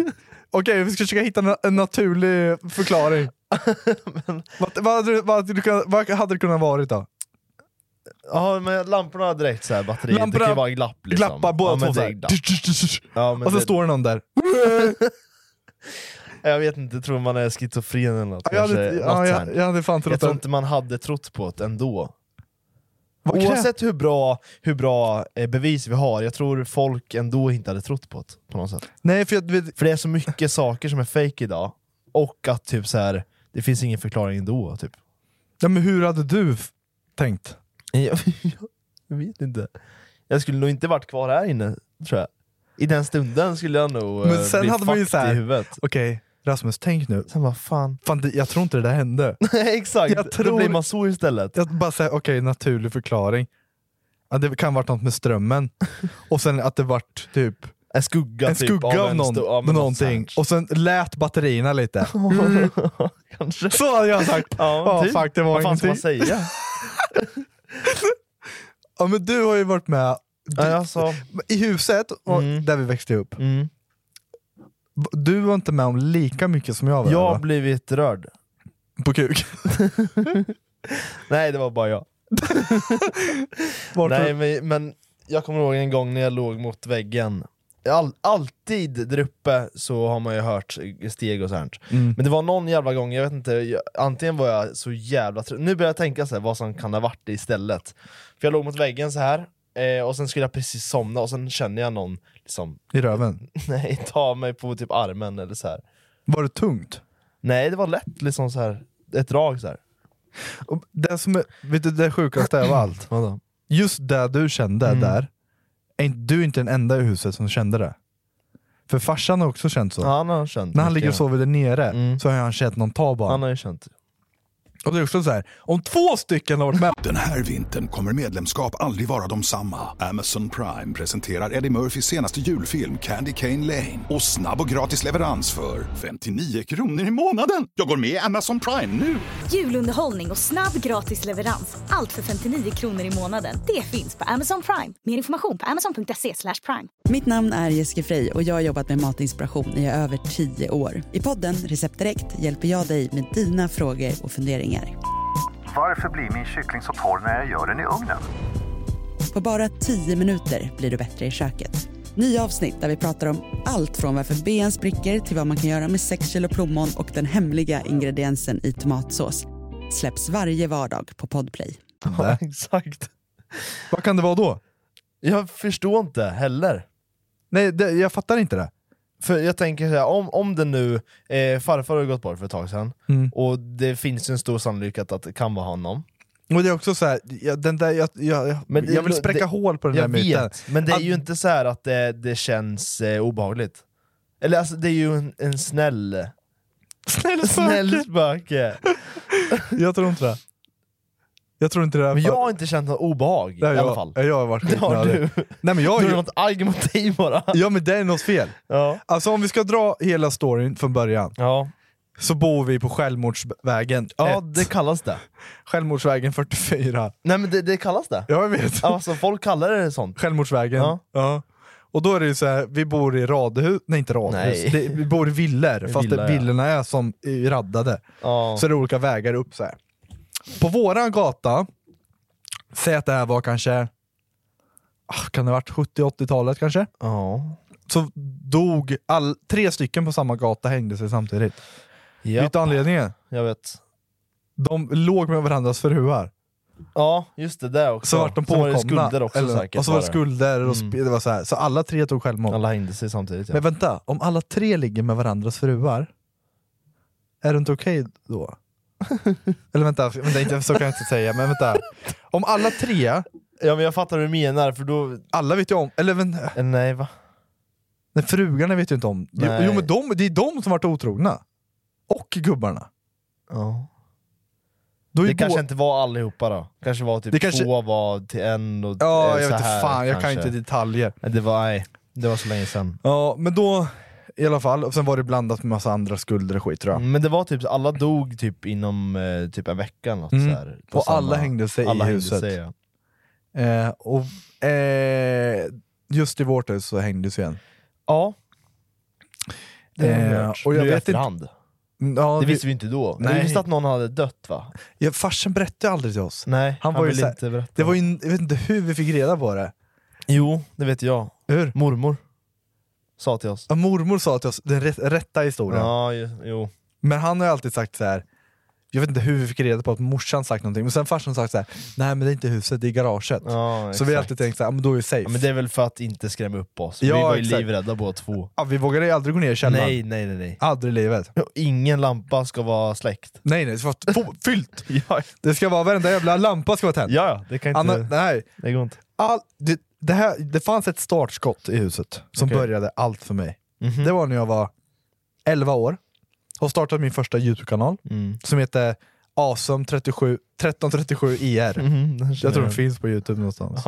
[SPEAKER 3] Okej, vi ska försöka hitta na- en naturlig förklaring. vad, vad, hade, du- vad, hade du, kunnat- vad hade det kunnat varit då?
[SPEAKER 4] ja, men lamporna direkt såhär, batteriet, det
[SPEAKER 3] Lamporna
[SPEAKER 4] kan ju vara en glapp liksom.
[SPEAKER 3] Glappar båda
[SPEAKER 4] ja, men
[SPEAKER 3] två
[SPEAKER 4] det är
[SPEAKER 3] såhär.
[SPEAKER 4] glapp. Ja, men
[SPEAKER 3] Och så
[SPEAKER 4] det-
[SPEAKER 3] står det någon där.
[SPEAKER 4] Jag vet inte, jag tror man är schizofren eller något.
[SPEAKER 3] Jag hade,
[SPEAKER 4] kanske,
[SPEAKER 3] ja,
[SPEAKER 4] något
[SPEAKER 3] jag,
[SPEAKER 4] jag,
[SPEAKER 3] jag hade fan
[SPEAKER 4] jag
[SPEAKER 3] trott
[SPEAKER 4] tror
[SPEAKER 3] att...
[SPEAKER 4] inte man hade trott på det ändå.
[SPEAKER 3] Vad krävs-
[SPEAKER 4] Oavsett hur bra, hur bra eh, bevis vi har, jag tror folk ändå inte hade trott på det på något sätt.
[SPEAKER 3] Nej, för jag, vet-
[SPEAKER 4] För det är så mycket saker som är fake idag, och att typ så här, det finns ingen förklaring ändå. Typ.
[SPEAKER 3] ja, men hur hade du f- tänkt?
[SPEAKER 4] Jag, jag vet inte. Jag skulle nog inte varit kvar här inne, tror jag. I den stunden skulle jag nog eh,
[SPEAKER 3] Men sen
[SPEAKER 4] bli
[SPEAKER 3] hade man ju
[SPEAKER 4] fucked
[SPEAKER 3] så här-
[SPEAKER 4] i huvudet.
[SPEAKER 3] Okej, Rasmus, tänk nu.
[SPEAKER 4] Sen bara, fan.
[SPEAKER 3] Fan, det, jag tror inte det där hände.
[SPEAKER 4] Exakt,
[SPEAKER 3] Jag
[SPEAKER 4] då
[SPEAKER 3] tror-
[SPEAKER 4] blir man så istället.
[SPEAKER 3] Jag bara säger, okej, naturlig förklaring. Ja, det kan ha varit något med strömmen, och sen att det vart typ
[SPEAKER 4] En skugga,
[SPEAKER 3] en
[SPEAKER 4] typ,
[SPEAKER 3] skugga av
[SPEAKER 4] en
[SPEAKER 3] någon,
[SPEAKER 4] stor- ja, men något
[SPEAKER 3] någonting,
[SPEAKER 4] sånt.
[SPEAKER 3] och sen lät batterierna lite.
[SPEAKER 4] Kanske.
[SPEAKER 3] Så hade jag sagt. Ja,
[SPEAKER 4] typ.
[SPEAKER 3] fuck, det var
[SPEAKER 4] Vad fan ska man
[SPEAKER 3] ingenting.
[SPEAKER 4] säga?
[SPEAKER 3] Ja, men du har ju varit med
[SPEAKER 4] Ja, alltså,
[SPEAKER 3] i huset och
[SPEAKER 4] Mm.
[SPEAKER 3] där vi växte upp.
[SPEAKER 4] mm.
[SPEAKER 3] Du var inte med om lika mycket som jag var.
[SPEAKER 4] Jag har
[SPEAKER 3] va?
[SPEAKER 4] blivit rörd.
[SPEAKER 3] På kuk.
[SPEAKER 4] Nej, det var bara jag.
[SPEAKER 3] Vart
[SPEAKER 4] Nej, men, men jag kommer ihåg en gång när jag låg mot väggen. All, alltid där uppe så har man ju hört steg och sånt.
[SPEAKER 3] Mm.
[SPEAKER 4] Men det var någon jävla gång, jag vet inte, jag, antingen var jag så jävla trött, nu börjar jag tänka så här, vad som kan ha varit det istället. För jag låg mot väggen så här eh, och sen skulle jag precis somna och sen känner jag någon liksom,
[SPEAKER 3] I röven.
[SPEAKER 4] nej, ta mig på typ armen eller så här.
[SPEAKER 3] Var det tungt?
[SPEAKER 4] Nej, det var lätt liksom så här ett drag så här.
[SPEAKER 3] Och det som är, vet du, det sjukaste av allt, just det du kände
[SPEAKER 4] Mm.
[SPEAKER 3] där, är inte- du är inte den enda i huset som kände det. För farsan har också känt så.
[SPEAKER 4] Ja, han har känt
[SPEAKER 3] När han
[SPEAKER 4] mycket.
[SPEAKER 3] ligger och sover där nere
[SPEAKER 4] Mm.
[SPEAKER 3] så har han känt någon ta bara.
[SPEAKER 4] Han har ju känt.
[SPEAKER 3] Och det är också så här. om två stycken har varit med
[SPEAKER 1] Den här vintern kommer medlemskap aldrig vara de samma. Amazon Prime presenterar Eddie Murphys senaste julfilm Candy Cane Lane. Och snabb och gratis leverans för 59 kronor i månaden. Jag går med i Amazon Prime nu!
[SPEAKER 2] Julunderhållning och snabb gratis leverans. Allt för 59 kronor i månaden. Det finns på Amazon Prime. Mer information på amazon.se slash prime.
[SPEAKER 6] Mitt namn är Jessica Frey och jag har jobbat med matinspiration i över 10 år. I podden Recept Direkt hjälper jag dig med dina frågor och funderingar.
[SPEAKER 7] Varför blir min kyckling så torr när jag gör den i ugnen?
[SPEAKER 6] På bara 10 minuter blir du bättre i köket. Nya avsnitt där vi pratar om allt från varför ben spricker till vad man kan göra med 6 kilo plommon och den hemliga ingrediensen i tomatsås. Släpps varje vardag på Podplay.
[SPEAKER 4] Ja, exakt.
[SPEAKER 3] Vad kan det vara då?
[SPEAKER 4] Jag förstår inte heller.
[SPEAKER 3] Nej, det, jag fattar inte det.
[SPEAKER 4] För jag tänker så här, om, om det nu, eh, farfar har ju gått bort för ett tag sedan,
[SPEAKER 3] Mm.
[SPEAKER 4] och det finns ju en stor sannolikhet att det kan vara honom.
[SPEAKER 3] Och det är också så här, jag, den där, jag, jag,
[SPEAKER 4] Men det-
[SPEAKER 3] jag vill spräcka
[SPEAKER 4] det-
[SPEAKER 3] hål på den
[SPEAKER 4] Jag
[SPEAKER 3] där myten. Ah,
[SPEAKER 4] vet, men det är
[SPEAKER 3] Att-
[SPEAKER 4] ju inte så här att det, det känns eh, obehagligt. Eller alltså, det är ju en, en snäll...
[SPEAKER 3] Snälla
[SPEAKER 4] Snäll
[SPEAKER 3] snäll.
[SPEAKER 4] spöke!
[SPEAKER 3] Jag tror inte det. Jag tror inte det.
[SPEAKER 4] Men jag har inte känt något obehag
[SPEAKER 3] det har
[SPEAKER 4] i
[SPEAKER 3] jag,
[SPEAKER 4] alla fall.
[SPEAKER 3] Jag har varit
[SPEAKER 4] Det har
[SPEAKER 3] skitnödig.
[SPEAKER 4] du.
[SPEAKER 3] Nej men jag
[SPEAKER 4] Du
[SPEAKER 3] har
[SPEAKER 4] har
[SPEAKER 3] ju,
[SPEAKER 4] något agg mot dig bara.
[SPEAKER 3] ja men det är något fel.
[SPEAKER 4] Ja.
[SPEAKER 3] Alltså om vi ska dra hela storyn från början,
[SPEAKER 4] Ja.
[SPEAKER 3] så bor vi på Självmordsvägen
[SPEAKER 4] ja,
[SPEAKER 3] ett.
[SPEAKER 4] det kallas det.
[SPEAKER 3] Självmordsvägen 44.
[SPEAKER 4] Nej men det, det kallas det.
[SPEAKER 3] Ja, jag vet.
[SPEAKER 4] Alltså folk kallar det sånt.
[SPEAKER 3] Självmordsvägen.
[SPEAKER 4] Ja.
[SPEAKER 3] Ja. Och då är det ju så här, vi bor i radhus, nej inte
[SPEAKER 4] Nej.
[SPEAKER 3] radhus, det, vi bor i villor, fast
[SPEAKER 4] Villa,
[SPEAKER 3] det,
[SPEAKER 4] ja.
[SPEAKER 3] villorna är som i raddade.
[SPEAKER 4] Ja.
[SPEAKER 3] Så det är olika vägar upp så här. På våran gata, säg att det här var kanske, ah, kan det ha varit 70-80-talet kanske?
[SPEAKER 4] Ja.
[SPEAKER 3] Så dog all, tre stycken på samma gata hängde sig samtidigt. Vet
[SPEAKER 4] Japp,
[SPEAKER 3] du anledningen?
[SPEAKER 4] jag vet.
[SPEAKER 3] De låg med varandras fruar.
[SPEAKER 4] Ja, just det där också.
[SPEAKER 3] Så vart de
[SPEAKER 4] Sen var
[SPEAKER 3] påkomna.
[SPEAKER 4] det skulder också
[SPEAKER 3] eller,
[SPEAKER 4] säkert.
[SPEAKER 3] och så var det
[SPEAKER 4] bara. Mm.
[SPEAKER 3] skulder, och sp- det var så, här. så alla tre tog självmord.
[SPEAKER 4] Alla hängde sig samtidigt ja.
[SPEAKER 3] Men vänta, om alla tre ligger med varandras fruar, är det inte okej då? eller vänta, vänta inte, så kan jag inte säga, men vänta. Om alla tre,
[SPEAKER 4] Ja men jag fattar hur du menar, för då...
[SPEAKER 3] alla vet ju om, eller vänta,
[SPEAKER 4] Eh, Nej va?
[SPEAKER 3] nej, frugarna vet ju inte om. Jo,
[SPEAKER 4] Nej.
[SPEAKER 3] jo men de, det är de som varit otrogna. Och gubbarna.
[SPEAKER 4] Ja.
[SPEAKER 3] Då är
[SPEAKER 4] det
[SPEAKER 3] ju
[SPEAKER 4] kanske
[SPEAKER 3] bå-
[SPEAKER 4] inte var allihopa då? kanske var typ
[SPEAKER 3] Det kanske-
[SPEAKER 4] två var till en och
[SPEAKER 3] Ja,
[SPEAKER 4] eh,
[SPEAKER 3] jag
[SPEAKER 4] så
[SPEAKER 3] vet inte
[SPEAKER 4] här,
[SPEAKER 3] fan, jag
[SPEAKER 4] kanske.
[SPEAKER 3] kan inte detaljer.
[SPEAKER 4] Det var, nej, det var så länge sedan.
[SPEAKER 3] Ja, men då i alla fall, och sen var det blandat med massa andra skulder och skit tror jag.
[SPEAKER 4] Men det var typ, alla dog typ inom eh, typ en vecka eller något
[SPEAKER 3] Mm.
[SPEAKER 4] så här, på
[SPEAKER 3] och
[SPEAKER 4] samma-
[SPEAKER 3] alla hängde sig
[SPEAKER 4] alla
[SPEAKER 3] i
[SPEAKER 4] hängde
[SPEAKER 3] huset.
[SPEAKER 4] sig, ja.
[SPEAKER 3] eh, och eh, just i vårt hus så hängdes ju en.
[SPEAKER 4] Ja. Det har vi
[SPEAKER 3] Eh,
[SPEAKER 4] hört.
[SPEAKER 3] och jag
[SPEAKER 4] Nu i
[SPEAKER 3] vet
[SPEAKER 4] efterhand.
[SPEAKER 3] inte, Mm, ja,
[SPEAKER 4] det visste vi inte då. Nej. Vi
[SPEAKER 3] Nej.
[SPEAKER 4] visste att någon hade dött va?
[SPEAKER 3] Ja, farsan berättade aldrig till oss.
[SPEAKER 4] Nej, han
[SPEAKER 3] var ju
[SPEAKER 4] ville
[SPEAKER 3] så här-
[SPEAKER 4] inte berätta.
[SPEAKER 3] Det var ju, jag vet inte hur vi fick reda på det.
[SPEAKER 4] Jo, det vet jag.
[SPEAKER 3] Hur?
[SPEAKER 4] Mormor sa till oss.
[SPEAKER 3] Ja, mormor sa till oss den rätt, rätta historien.
[SPEAKER 4] Ja, ju- jo.
[SPEAKER 3] Men han har ju alltid sagt så här. jag vet inte hur vi fick reda på att morsan sagt någonting, men sen farsan sagt så här. nej men det är inte huset, det är garaget.
[SPEAKER 4] Ja,
[SPEAKER 3] så vi har
[SPEAKER 4] exakt.
[SPEAKER 3] alltid tänkt såhär, men då är vi safe.
[SPEAKER 4] Ja, men det är väl för att inte skrämma upp oss.
[SPEAKER 3] Ja,
[SPEAKER 4] vi var ju
[SPEAKER 3] exakt.
[SPEAKER 4] livrädda båda två.
[SPEAKER 3] Ja, vi vågade ju aldrig gå ner i källaren.
[SPEAKER 4] Nej, nej, nej. nej.
[SPEAKER 3] Aldrig i livet.
[SPEAKER 4] Ingen lampa ska vara släckt.
[SPEAKER 3] Nej nej, det ska vara få- fyllt! Det ska vara varenda jävla lampa ska vara tänd.
[SPEAKER 4] Ja, ja, det kan inte-
[SPEAKER 3] Anna, nej.
[SPEAKER 4] Det går inte.
[SPEAKER 3] All, det, det, här, det fanns ett startskott i huset som
[SPEAKER 4] Okej. Mhm.
[SPEAKER 3] började allt för mig. Det var när jag var 11 år och startade min första Youtube-kanal
[SPEAKER 4] Mm.
[SPEAKER 3] som heter awesome 37, 1337IR.
[SPEAKER 4] Mhm, den känner
[SPEAKER 3] jag tror den
[SPEAKER 4] jag.
[SPEAKER 3] finns på Youtube någonstans.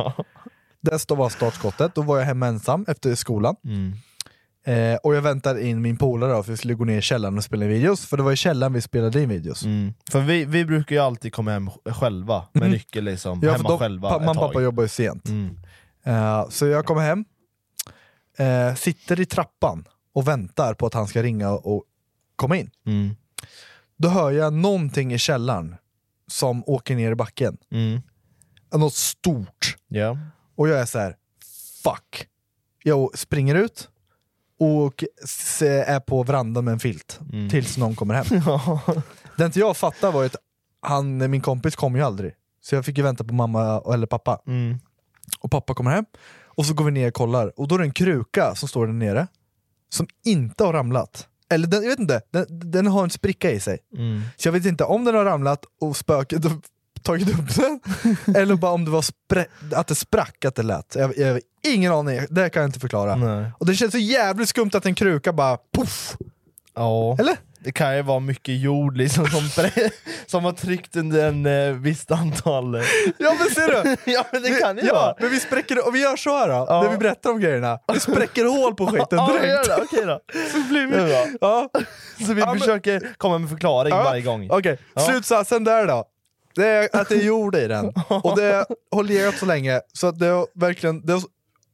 [SPEAKER 3] Det var startskottet, då var jag hemma ensam efter skolan.
[SPEAKER 4] Mm.
[SPEAKER 3] Eh, och jag väntade in min polare då, för vi skulle gå ner i källaren och spela in videos, för det var i källaren vi spelade in videos.
[SPEAKER 4] Mm. För vi, vi brukar ju alltid komma hem sj- själva, med
[SPEAKER 3] Mhm.
[SPEAKER 4] nyckel liksom,
[SPEAKER 3] Ja, för
[SPEAKER 4] hemma
[SPEAKER 3] de-
[SPEAKER 4] själva
[SPEAKER 3] pa-
[SPEAKER 4] ett
[SPEAKER 3] Mamma och
[SPEAKER 4] tag. Mm.
[SPEAKER 3] pappa jobbar ju sent. Eh, så jag kommer hem, eh, sitter i trappan och väntar på att han ska ringa och komma in.
[SPEAKER 4] Mm.
[SPEAKER 3] Då hör jag någonting i källaren som åker ner i backen.
[SPEAKER 4] Mm.
[SPEAKER 3] Eh, Något stort.
[SPEAKER 4] Ja.
[SPEAKER 3] Och jag är så här: fuck. Jag springer ut och s- är på verandan med en filt
[SPEAKER 4] Mm.
[SPEAKER 3] tills någon kommer hem. Det inte jag fattar var ju att han, min kompis kom ju aldrig. Så jag fick ju vänta på mamma eller pappa. Och pappa kommer hem och så går vi ner och kollar och då är det en kruka som står där nere som inte har ramlat. Eller den, jag vet inte, den, den har en spricka i sig.
[SPEAKER 4] Mm.
[SPEAKER 3] Så jag vet inte om den har ramlat och spöket har tagit upp den, eller bara om det var sprä- att det sprack, att det lät. Jag, jag har ingen aning, det kan jag inte förklara. Och det känns så jävligt skumt att en kruka bara poff!
[SPEAKER 4] Ja.
[SPEAKER 3] Eller?
[SPEAKER 4] Det kan ju vara mycket jord liksom, som, pre- som har tryckt under en eh, visst antal...
[SPEAKER 3] Ja men ser du!
[SPEAKER 4] ja men det kan ju
[SPEAKER 3] ja,
[SPEAKER 4] vara.
[SPEAKER 3] Men vi spräcker, och vi gör så här då, när vi berättar om grejerna. Vi spräcker hål på skiten
[SPEAKER 4] Ja, vi
[SPEAKER 3] direkt.
[SPEAKER 4] gör det. Okej då.
[SPEAKER 3] Så blir
[SPEAKER 4] Det är bra.
[SPEAKER 3] vi... Ja.
[SPEAKER 4] Så vi
[SPEAKER 3] Ja, men-
[SPEAKER 4] försöker komma med förklaring varje gång.
[SPEAKER 3] Okej,
[SPEAKER 4] Ja.
[SPEAKER 3] slutsatsen där då. Det är att det är jord i den. Och det har legat så länge så att det har verkligen det har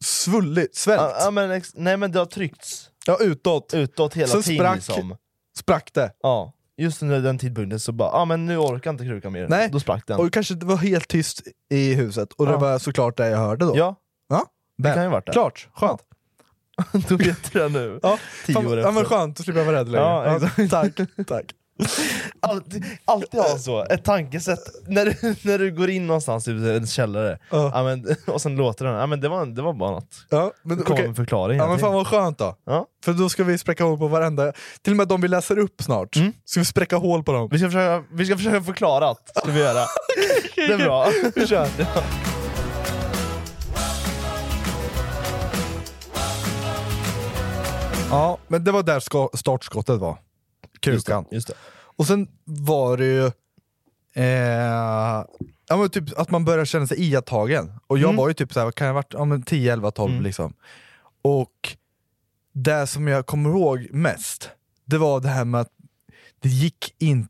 [SPEAKER 3] svullit, svällt.
[SPEAKER 4] Ja, ja, men ex- nej men det har tryckts
[SPEAKER 3] Ja, utåt.
[SPEAKER 4] utåt hela
[SPEAKER 3] Sen
[SPEAKER 4] tiden
[SPEAKER 3] sprack-
[SPEAKER 4] liksom.
[SPEAKER 3] Sprack det.
[SPEAKER 4] Ja. Just under den tidpunkten så bara, ah, men nu orkar inte krukan mer.
[SPEAKER 3] Nej.
[SPEAKER 4] Då sprack den.
[SPEAKER 3] Och kanske det var helt tyst i huset och det
[SPEAKER 4] Ja.
[SPEAKER 3] var såklart det jag hörde då.
[SPEAKER 4] Ja,
[SPEAKER 3] Ja,
[SPEAKER 4] det
[SPEAKER 3] men-
[SPEAKER 4] kan ju varit det.
[SPEAKER 3] Klart, skönt.
[SPEAKER 4] Då vet du det nu.
[SPEAKER 3] Ja.
[SPEAKER 4] Tio
[SPEAKER 3] Fan,
[SPEAKER 4] år
[SPEAKER 3] ja, men
[SPEAKER 4] efter.
[SPEAKER 3] skönt, då slipper jag vara rädd längre.
[SPEAKER 4] Ja,
[SPEAKER 3] tack, tack.
[SPEAKER 4] Alltid, alltid ha så, ett tankesätt. När du, när du går in någonstans i en källare,
[SPEAKER 3] Ja.
[SPEAKER 4] ja, men, och sen låter den, ja, men det, var, det var bara något.
[SPEAKER 3] Ja,
[SPEAKER 4] Det
[SPEAKER 3] men,
[SPEAKER 4] kommer
[SPEAKER 3] okej.
[SPEAKER 4] en förklaring.
[SPEAKER 3] ja,
[SPEAKER 4] hela
[SPEAKER 3] men
[SPEAKER 4] tiden.
[SPEAKER 3] fan vad skönt då.
[SPEAKER 4] Ja.
[SPEAKER 3] För då ska vi spräcka hål på varenda, till och med de vi läser upp snart, ska vi spräcka hål på dem.
[SPEAKER 4] Mm. vi, ska försöka, vi ska försöka förklara att, ska vi göra. Det är bra.
[SPEAKER 3] Vi kör. Ja, men det var där ska- startskottet var. Krukan.
[SPEAKER 4] Just det.
[SPEAKER 3] Och sen var det ju eh, ja, men typ att man börjar känna sig iakttagen. Och
[SPEAKER 4] Mm.
[SPEAKER 3] jag var ju typ såhär, vad kan jag ha varit ja, men 10, 11, 12 liksom. Och det som jag kommer ihåg mest, det var det här med att det gick inte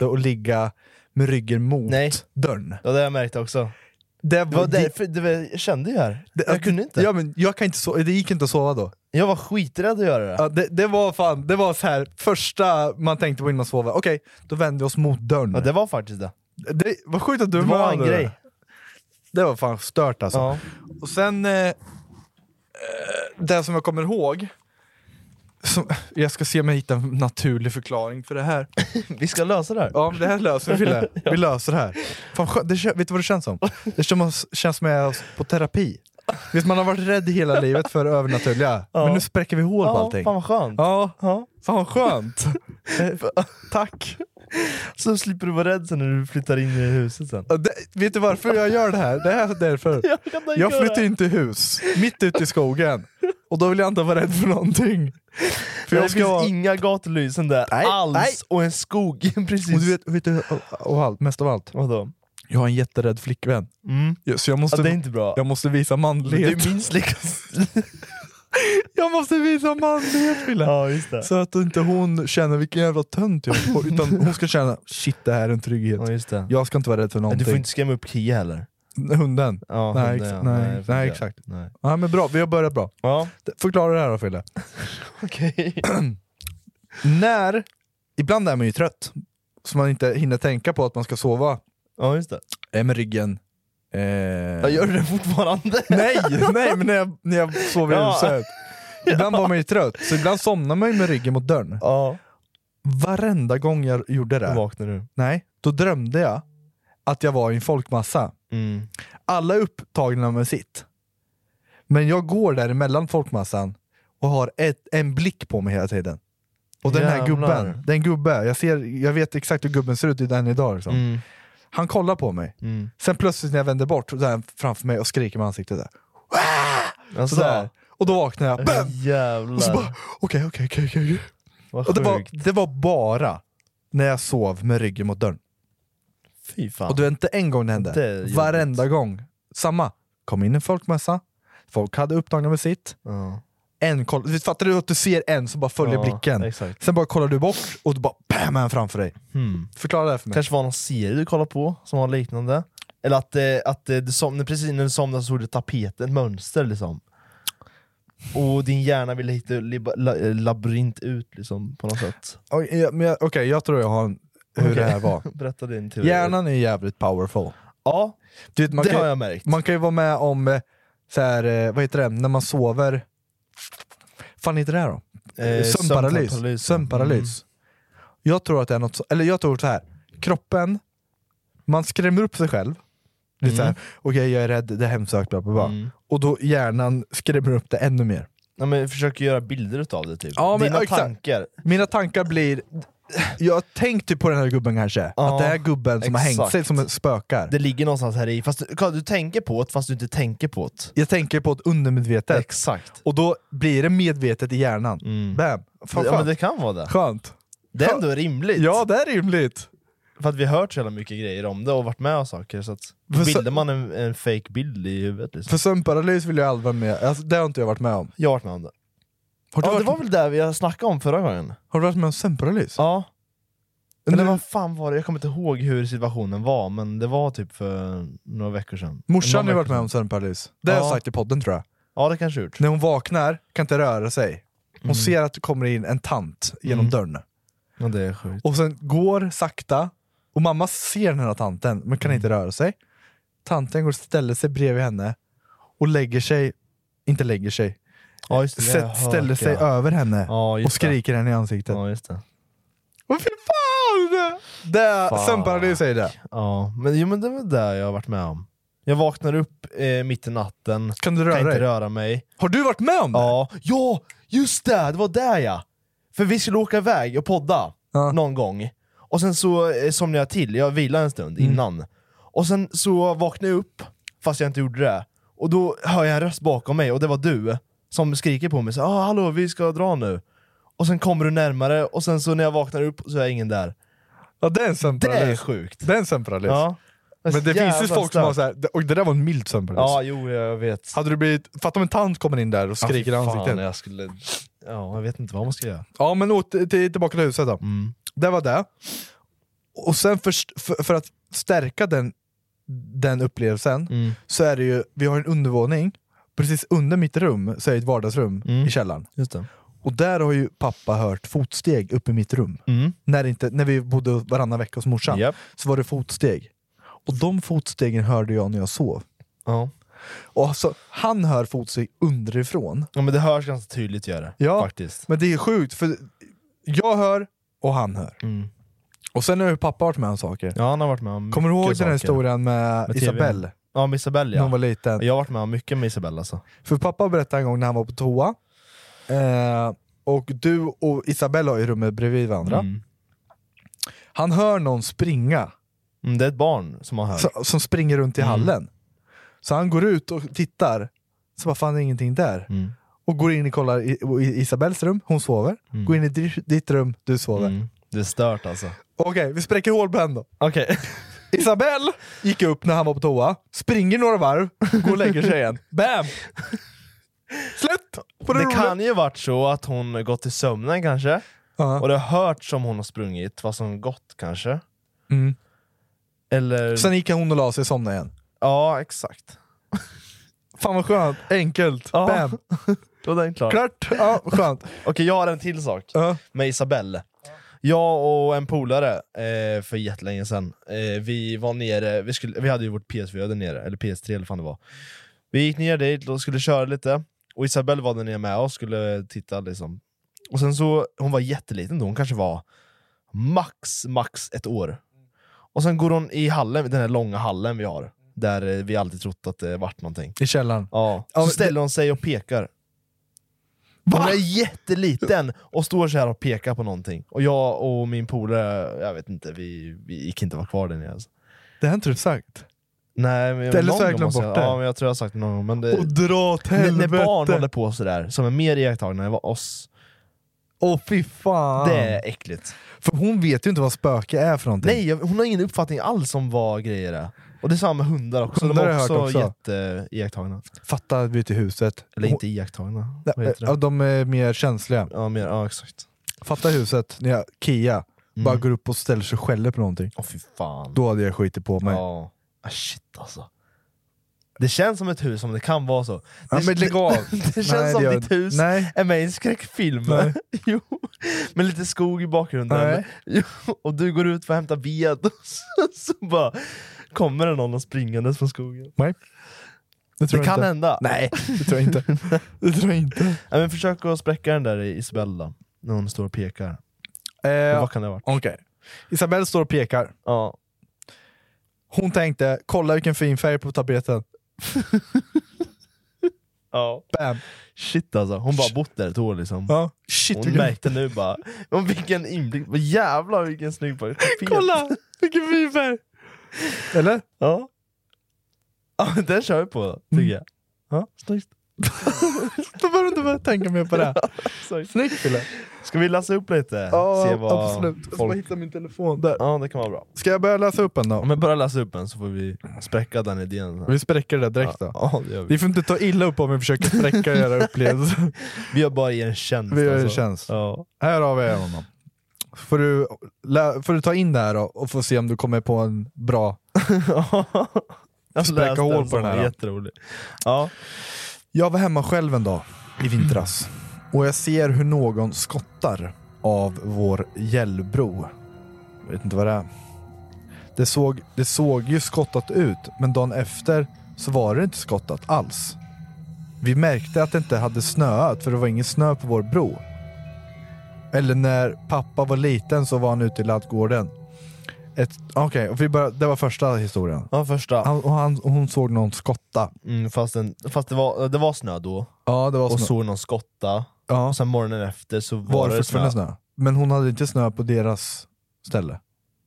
[SPEAKER 3] Och ligga med ryggen mot dörren.
[SPEAKER 4] Ja, det har jag märkt också.
[SPEAKER 3] Det
[SPEAKER 4] var därför, det var, jag kände ju här. jag kunde inte.
[SPEAKER 3] Ja, men jag kan inte sova, det gick inte att sova då.
[SPEAKER 4] Jag var skiträdd att göra det.
[SPEAKER 3] Ja, det, det var fan, det var så här första man tänkte på innan man sov. Okej, då vänder vi oss mot dörren. Ja,
[SPEAKER 4] det var faktiskt det.
[SPEAKER 3] det vad sjukt att du
[SPEAKER 4] Det var
[SPEAKER 3] var
[SPEAKER 4] en
[SPEAKER 3] det.
[SPEAKER 4] grej.
[SPEAKER 3] Det var fan stört alltså.
[SPEAKER 4] Ja.
[SPEAKER 3] Och sen, eh, eh, det som jag kommer ihåg, som, jag ska se om jag hittar en naturlig förklaring för det här.
[SPEAKER 4] vi ska lösa det här.
[SPEAKER 3] Ja, men det här löser vi Fille. Vi löser det här. Fan, skö- det, kän- vet du vad det känns som? Det känns- känns som att jag är på terapi. Vet, man har varit rädd hela livet för det övernaturliga,
[SPEAKER 4] Ja.
[SPEAKER 3] men nu spräcker vi hål på
[SPEAKER 4] Ja,
[SPEAKER 3] allting.
[SPEAKER 4] fan vad skönt.
[SPEAKER 3] Ja, fan vad skönt. Tack.
[SPEAKER 4] Så slipper du vara rädd sen när du flyttar in i huset sen.
[SPEAKER 3] Ja, det, vet du varför jag gör det här? Det här är därför. Jag,
[SPEAKER 4] tänka mig.
[SPEAKER 3] flyttar in till hus, mitt ute i skogen. Och då vill jag inte vara rädd för någonting. För
[SPEAKER 4] det
[SPEAKER 3] jag ska
[SPEAKER 4] finns
[SPEAKER 3] vara-
[SPEAKER 4] inga gatelysen där
[SPEAKER 3] Nej,
[SPEAKER 4] alls,
[SPEAKER 3] nej.
[SPEAKER 4] och en skog precis.
[SPEAKER 3] Och du vet, vet du, och, och allt, mest av allt.
[SPEAKER 4] Vadå?
[SPEAKER 3] Jag har en jätterädd flickvän.
[SPEAKER 4] Mm.
[SPEAKER 3] Ja, Så jag måste,
[SPEAKER 4] Ja, det är inte bra.
[SPEAKER 3] Jag måste visa manlighet.
[SPEAKER 4] Det är minst lika...
[SPEAKER 3] jag måste visa manlighet Fille.
[SPEAKER 4] Ja, just det.
[SPEAKER 3] Så att inte hon känner vilken jävla tönt jag är. Utan hon ska känna, shit det här är en trygghet. Jag ska inte vara rädd för någonting.
[SPEAKER 4] Du får inte skrämma upp Kia heller.
[SPEAKER 3] Hunden?
[SPEAKER 4] Ja,
[SPEAKER 3] nej,
[SPEAKER 4] hunden,
[SPEAKER 3] ex-
[SPEAKER 4] ja.
[SPEAKER 3] nej,
[SPEAKER 4] Nej,
[SPEAKER 3] nej,
[SPEAKER 4] det funkar.
[SPEAKER 3] exakt.
[SPEAKER 4] Nej.
[SPEAKER 3] Ja, men bra, vi har börjat bra.
[SPEAKER 4] Ja.
[SPEAKER 3] Förklara det här då Fille.
[SPEAKER 4] Okej.
[SPEAKER 3] När, ibland är man ju trött, så man inte hinner tänka på att man ska sova
[SPEAKER 4] ja, just det.
[SPEAKER 3] eh, med ryggen. Eh...
[SPEAKER 4] Jag gör det fortfarande.
[SPEAKER 3] Nej, nej men när jag, när jag sover i
[SPEAKER 4] Ja.
[SPEAKER 3] huset. Ibland var man ju trött, så ibland somnar man ju med ryggen mot dörren.
[SPEAKER 4] Ja.
[SPEAKER 3] Varenda gång jag gjorde det, här,
[SPEAKER 4] Vaknar du?
[SPEAKER 3] nej, då drömde jag att jag var i en folkmassa.
[SPEAKER 4] Mm.
[SPEAKER 3] Alla är upptagna med sitt. Men jag går däremellan folkmassan och har ett, en blick på mig hela tiden. Och den här
[SPEAKER 4] Jävlar.
[SPEAKER 3] gubben, den gubbe, jag, ser, jag vet exakt hur gubben ser ut, i den idag liksom.
[SPEAKER 4] Mm.
[SPEAKER 3] Han kollar på mig.
[SPEAKER 4] Mm.
[SPEAKER 3] Sen plötsligt när jag vänder bort, så är han framför mig och skriker med ansiktet där.
[SPEAKER 4] Alltså,
[SPEAKER 3] Sådär. Och då vaknar jag, bam!
[SPEAKER 4] Jävlar.
[SPEAKER 3] Och så bara, okej, okej, okej, okej. okej.
[SPEAKER 4] Vad
[SPEAKER 3] Och det var,
[SPEAKER 4] sjukt.
[SPEAKER 3] det var bara när jag sov med ryggen mot dörren.
[SPEAKER 4] Fy fan.
[SPEAKER 3] Och det var inte en gång det hände.
[SPEAKER 4] Det är jobbigt.
[SPEAKER 3] Varenda gång. Samma. Kom in en folkmassa, folk hade upptagna med sitt.
[SPEAKER 4] Ja.
[SPEAKER 3] En koll, du fattar du att du ser en som bara följer
[SPEAKER 4] Ja,
[SPEAKER 3] blicken?
[SPEAKER 4] exakt.
[SPEAKER 3] Sen bara kollar du bort och du bara bam, är han framför dig.
[SPEAKER 4] Hmm.
[SPEAKER 3] Förklara det här för mig.
[SPEAKER 4] kanske var någon serie du kollade på som var liknande. Eller att, eh, att eh, du somnade, precis när du somnade så såg du tapeten, mönster liksom. Och din hjärna ville hitta liba, la, eh, labyrint ut liksom, på något sätt.
[SPEAKER 3] Okej, jag- men jag- Okej, jag tror jag har en, hur det här var.
[SPEAKER 4] Berätta din teori.
[SPEAKER 3] Hjärnan är jävligt powerful.
[SPEAKER 4] Ja,
[SPEAKER 3] Du vet, man
[SPEAKER 4] det
[SPEAKER 3] kan,
[SPEAKER 4] har jag märkt.
[SPEAKER 3] Man kan ju vara med om, eh, så här, eh, vad heter det, när man sover... Fan heter det här då?
[SPEAKER 4] Eh,
[SPEAKER 3] sömnparalys.
[SPEAKER 4] sömnparalys. Mm.
[SPEAKER 3] Sömnparalys. Jag tror att det är något så, eller jag tror så här. kroppen, man skrämmer upp sig själv. Det är så
[SPEAKER 4] Mm.
[SPEAKER 3] här, okej jag är rädd, det är hemsökt, bla, bla, bla. Och då hjärnan skrämmer upp det ännu mer.
[SPEAKER 4] Ja, men jag försöker göra bilder utav det typ.
[SPEAKER 3] Ja, men-
[SPEAKER 4] Dina
[SPEAKER 3] ja, exakt.
[SPEAKER 4] tankar.
[SPEAKER 3] Mina tankar blir, jag tänkte på den här gubben kanske,
[SPEAKER 4] Ja,
[SPEAKER 3] att det är gubben som har hängt
[SPEAKER 4] exakt.
[SPEAKER 3] sig som en spökar.
[SPEAKER 4] Det ligger någonstans här i, fast du, kolla, du tänker på det fast du inte tänker på det.
[SPEAKER 3] Jag tänker på ett undermedvetet,
[SPEAKER 4] Exakt. Mm.
[SPEAKER 3] och då blir det medvetet i hjärnan. Bam! Fan,
[SPEAKER 4] Ja, men
[SPEAKER 3] skönt.
[SPEAKER 4] det kan vara det.
[SPEAKER 3] skönt.
[SPEAKER 4] Det är ändå rimligt.
[SPEAKER 3] Ja, det är rimligt.
[SPEAKER 4] För att vi har hört så jävla mycket grejer om det och varit med om saker, så att
[SPEAKER 3] För så-
[SPEAKER 4] bildar man en, en fake bild i huvudet liksom.
[SPEAKER 3] För sömnparalys vill jag aldrig vara med alltså, Det har inte jag varit med om.
[SPEAKER 4] Jag har varit med om det.
[SPEAKER 3] Har du,
[SPEAKER 4] ja,
[SPEAKER 3] varit,
[SPEAKER 4] det var väl det vi snackade om förra gången?
[SPEAKER 3] har du varit med om sömnparalys?
[SPEAKER 4] Ja.
[SPEAKER 3] Men
[SPEAKER 4] Eller
[SPEAKER 3] nu-
[SPEAKER 4] vad fan var det? Jag kommer inte ihåg hur situationen var, men det var typ för några veckor sedan.
[SPEAKER 3] Morsan har ju
[SPEAKER 4] Någon
[SPEAKER 3] varit med
[SPEAKER 4] vecka
[SPEAKER 3] om sömnparalys. Det har
[SPEAKER 4] Ja.
[SPEAKER 3] jag sagt i podden tror jag.
[SPEAKER 4] sedan. Ja, det kanske jag gjort.
[SPEAKER 3] När hon vaknar, kan inte röra sig. Hon ser att det kommer in en tant genom
[SPEAKER 4] Mm.
[SPEAKER 3] dörren.
[SPEAKER 4] Ja, det är sjukt.
[SPEAKER 3] Och sen går sakta, och mamma ser den här tanten men
[SPEAKER 4] Mm.
[SPEAKER 3] kan inte röra sig. Tanten går och ställer sig bredvid henne och lägger sig, inte lägger sig,
[SPEAKER 4] Ja, just det, det har jag
[SPEAKER 3] sätt, ställer
[SPEAKER 4] hört,
[SPEAKER 3] sig
[SPEAKER 4] ja.
[SPEAKER 3] över henne
[SPEAKER 4] Ja, just
[SPEAKER 3] och skriker henne i ansiktet.
[SPEAKER 4] Ja, just det.
[SPEAKER 3] Åh fy fan! Det,
[SPEAKER 4] Fuck.
[SPEAKER 3] sömnparalys säger det.
[SPEAKER 4] Ja, men, jo, men det var det jag har varit med om. Jag vaknar upp eh, mitt i natten,
[SPEAKER 3] Kan du röra
[SPEAKER 4] kan inte
[SPEAKER 3] dig?
[SPEAKER 4] röra mig.
[SPEAKER 3] Har du varit med om det?
[SPEAKER 4] Ja, ja, just det! Det var där ja! För vi skulle åka iväg och podda
[SPEAKER 3] Ja.
[SPEAKER 4] någon gång, och sen så eh, somnade jag till, jag vilade en stund
[SPEAKER 3] Mm.
[SPEAKER 4] innan. Och sen så vaknade jag upp, fast jag inte gjorde det, och då hör jag en röst bakom mig, och det var du, som skriker på mig så ah, hallå vi ska dra nu. Och sen kommer du närmare, och sen så när jag vaknar upp så är ingen där.
[SPEAKER 3] Ja, det är en
[SPEAKER 4] Det är
[SPEAKER 3] sömnparalys.
[SPEAKER 4] sjukt!
[SPEAKER 3] Det är en sömnparalys.
[SPEAKER 4] Ja.
[SPEAKER 3] Men det
[SPEAKER 4] Jävla
[SPEAKER 3] finns ju folk som
[SPEAKER 4] starkt.
[SPEAKER 3] har såhär, och det där var en mild sömnparalys.
[SPEAKER 4] Ja, jo jag vet.
[SPEAKER 3] Hade du blivit, fatta om en tant kommer in där och
[SPEAKER 4] Ja,
[SPEAKER 3] skriker i
[SPEAKER 4] fan,
[SPEAKER 3] ansiktet.
[SPEAKER 4] Jag skulle, ja, jag vet inte vad man ska göra.
[SPEAKER 3] Ja, men åter, till, tillbaka till huset då.
[SPEAKER 4] Mm.
[SPEAKER 3] Det var det. Och sen för, för, för att stärka den, den upplevelsen,
[SPEAKER 4] Mm.
[SPEAKER 3] så är det ju, vi har en undervåning, precis under mitt rum så är det ett vardagsrum
[SPEAKER 4] Mm.
[SPEAKER 3] i källaren.
[SPEAKER 4] Just det.
[SPEAKER 3] Och där har ju pappa hört fotsteg uppe i mitt rum.
[SPEAKER 4] Mm.
[SPEAKER 3] När, inte, när vi bodde varannan vecka hos morsan, så var det fotsteg. Och de fotstegen hörde jag när jag sov. Och alltså, han hör fotsteg underifrån.
[SPEAKER 4] Ja men det hörs ganska tydligt gör det.
[SPEAKER 3] Ja,
[SPEAKER 4] Faktiskt.
[SPEAKER 3] men det är sjukt för jag hör och han hör.
[SPEAKER 4] Mm.
[SPEAKER 3] Och sen har ju pappa varit med om saker.
[SPEAKER 4] Ja han har varit med om
[SPEAKER 3] Kommer du ihåg
[SPEAKER 4] Mm. mycket
[SPEAKER 3] den här
[SPEAKER 4] saker.
[SPEAKER 3] historien med,
[SPEAKER 4] Med TV.
[SPEAKER 3] Isabelle?
[SPEAKER 4] Ja med Isabelle
[SPEAKER 3] När
[SPEAKER 4] ja.
[SPEAKER 3] hon var liten.
[SPEAKER 4] Jag har varit med om mycket med Isabelle alltså.
[SPEAKER 3] För pappa berättade en gång när han var på toa, eh, och du och Isabella har ju rummet bredvid varandra. Han hör någon springa.
[SPEAKER 4] Mm, det är ett barn som han hör.
[SPEAKER 3] Som, springer runt i hallen. Så han går ut och tittar, så bara fan det är ingenting där. Och går in och kollar i, i Isabells rum, hon sover. Går in i di- ditt rum, du sover.
[SPEAKER 4] Mm, Det är stört alltså.
[SPEAKER 3] Okej, vi spräcker hål på henne då.
[SPEAKER 4] Okej.
[SPEAKER 3] Isabelle gick upp när han var på toa, springer några varv, går och lägger sig igen. Bam! Slut! På det
[SPEAKER 4] det
[SPEAKER 3] roliga.
[SPEAKER 4] kan ju varit så att hon gått till sömnen kanske. Och det har hört som hon har sprungit, vad som gått kanske.
[SPEAKER 3] Mm.
[SPEAKER 4] Eller...
[SPEAKER 3] Sen gick hon och la sig och somnade igen.
[SPEAKER 4] Ja, exakt.
[SPEAKER 3] Fan vad skönt, enkelt. Bam!
[SPEAKER 4] Då är den klar.
[SPEAKER 3] Klart! Ja, skönt.
[SPEAKER 4] Okej, jag har en till sak med Isabelle. Jag och en polare eh, för jättelänge sedan, eh, vi var nere, vi, skulle, vi hade ju vårt PS4 där nere, eller PS3 eller vad fan det var. Vi gick ner dit och skulle köra lite, och Isabelle var där nere med oss skulle titta liksom. Och sen så, hon var jätteliten då, hon kanske var max, max ett år. Och sen går hon i hallen, den här långa hallen vi har, där eh, vi alltid trott att det vart någonting.
[SPEAKER 3] I källaren.
[SPEAKER 4] Ja.
[SPEAKER 3] Ja,
[SPEAKER 4] Så
[SPEAKER 3] men
[SPEAKER 4] ställer hon sig och pekar. Hon är jätteliten och står så här och pekar på någonting. Och jag och min polare, jag vet inte, vi, vi gick inte vara kvar där nere. Alltså.
[SPEAKER 3] Det har inte du sagt.
[SPEAKER 4] Nej, men
[SPEAKER 3] Eller så
[SPEAKER 4] någon
[SPEAKER 3] har jag
[SPEAKER 4] gång
[SPEAKER 3] glömt
[SPEAKER 4] måste
[SPEAKER 3] bort det.
[SPEAKER 4] Ja, men jag tror jag har sagt det någon gång. Men det,
[SPEAKER 3] Och dra åt
[SPEAKER 4] Eh, när, när
[SPEAKER 3] helvete!
[SPEAKER 4] barn håller på sådär, som är mer iakttagna än oss,
[SPEAKER 3] Åh fy fan!
[SPEAKER 4] det är äckligt.
[SPEAKER 3] För hon vet ju inte vad spöke är för någonting.
[SPEAKER 4] Nej, jag, hon har ingen uppfattning alls om vad grejer är. Och det är samma med hundar också,
[SPEAKER 3] Hundar har
[SPEAKER 4] de är
[SPEAKER 3] jag hört
[SPEAKER 4] också,
[SPEAKER 3] också.
[SPEAKER 4] jätteiakttagna.
[SPEAKER 3] Fatta att vi är ute i huset.
[SPEAKER 4] Eller inte iakttagna,
[SPEAKER 3] Hon,
[SPEAKER 4] vad
[SPEAKER 3] nej,
[SPEAKER 4] heter
[SPEAKER 3] ja,
[SPEAKER 4] det?
[SPEAKER 3] de är mer känsliga.
[SPEAKER 4] Ja, mer, ja exakt.
[SPEAKER 3] Fatta huset när jag, Kia,
[SPEAKER 4] Mm.
[SPEAKER 3] bara går upp och ställer sig och skäller på någonting.
[SPEAKER 4] Åh fy fan.
[SPEAKER 3] Då hade jag skitit på mig.
[SPEAKER 4] Ja, ah, shit alltså. Det känns som ett hus som det kan vara så.
[SPEAKER 3] Ja,
[SPEAKER 4] det,
[SPEAKER 3] men lägg av.
[SPEAKER 4] det känns
[SPEAKER 3] Nej,
[SPEAKER 4] som
[SPEAKER 3] det gör-
[SPEAKER 4] ditt hus
[SPEAKER 3] Nej.
[SPEAKER 4] är med i en skräckfilm.
[SPEAKER 3] Nej.
[SPEAKER 4] jo. Med lite skog i bakgrunden.
[SPEAKER 3] Nej.
[SPEAKER 4] Jo. Och du går ut för att hämta ved och så, så bara kommer det någon springandes från skogen.
[SPEAKER 3] Nej. Det, tror
[SPEAKER 4] Det kan
[SPEAKER 3] jag inte.
[SPEAKER 4] hända.
[SPEAKER 3] Nej, det tror jag inte. Det tror jag inte.
[SPEAKER 4] Nej, men försök att spräcka den där i Isabella, när hon står och pekar.
[SPEAKER 3] Eh,
[SPEAKER 4] Vad kan det ha varit?
[SPEAKER 3] Okej. Isabelle står och pekar.
[SPEAKER 4] Ja.
[SPEAKER 3] Hon tänkte, kolla vilken fin färg på tapeten.
[SPEAKER 4] ja.
[SPEAKER 3] Bam!
[SPEAKER 4] Shit alltså, hon bara bott där ett år liksom.
[SPEAKER 3] Ja. Shit,
[SPEAKER 4] Hon
[SPEAKER 3] vilken-
[SPEAKER 4] märkte nu bara, men vilken inblick, vad jävlar vilken snygg pojk.
[SPEAKER 3] Kolla! Vilken fin färg! Eller?
[SPEAKER 4] Ja. ja, den kör vi på tycker jag. Ja, snyggt.
[SPEAKER 3] Då behöver du inte börja tänka mer på det.
[SPEAKER 4] Sorry.
[SPEAKER 3] Snyggt Fille!
[SPEAKER 4] Ska vi läsa upp lite? Se Alltså, vad
[SPEAKER 3] absolut. Jag ska bara
[SPEAKER 4] Folk...
[SPEAKER 3] hitta min telefon där.
[SPEAKER 4] Ja, det kan vara bra.
[SPEAKER 3] Ska jag börja läsa upp en
[SPEAKER 4] Ja,
[SPEAKER 3] då?
[SPEAKER 4] men börja läsa upp en så får vi spräcka den idén.
[SPEAKER 3] Vi spräcker det där direkt då.
[SPEAKER 4] Ja, det gör vi.
[SPEAKER 3] Ni får inte ta illa upp om vi försöker spräcka era upplevelser.
[SPEAKER 4] Vi gör bara er en tjänst.
[SPEAKER 3] Vi gör er en
[SPEAKER 4] alltså.
[SPEAKER 3] tjänst.
[SPEAKER 4] Ja.
[SPEAKER 3] Här har vi honom. Får du, lä- får du ta in det här då och få se om du kommer på en bra...
[SPEAKER 4] Jag
[SPEAKER 3] Spräcka
[SPEAKER 4] läste
[SPEAKER 3] hål på
[SPEAKER 4] en som
[SPEAKER 3] den här,
[SPEAKER 4] var
[SPEAKER 3] då.
[SPEAKER 4] Jätterolig. Ja.
[SPEAKER 3] Jag var hemma själv en dag i vintras och jag ser hur någon skottar av vår gällbro. Jag vet inte vad det är. Det såg, det såg ju skottat ut, men dagen efter så var det inte skottat alls. Vi märkte att det inte hade snöat för det var ingen snö på vår bro. Eller när pappa var liten så var han ute i laddgården. Ett- Okej, och vi börjar- det var första historien.
[SPEAKER 4] ja, första.
[SPEAKER 3] Han, och han, och hon såg någon skotta.
[SPEAKER 4] Mm, fast den, fast det, var, det var snö då,
[SPEAKER 3] Ja, det var
[SPEAKER 4] och
[SPEAKER 3] snö.
[SPEAKER 4] såg någon skotta,
[SPEAKER 3] Ja.
[SPEAKER 4] och sen morgonen efter så var,
[SPEAKER 3] var det
[SPEAKER 4] det snö.
[SPEAKER 3] fortfarande snö. Men hon hade inte snö på deras ställe.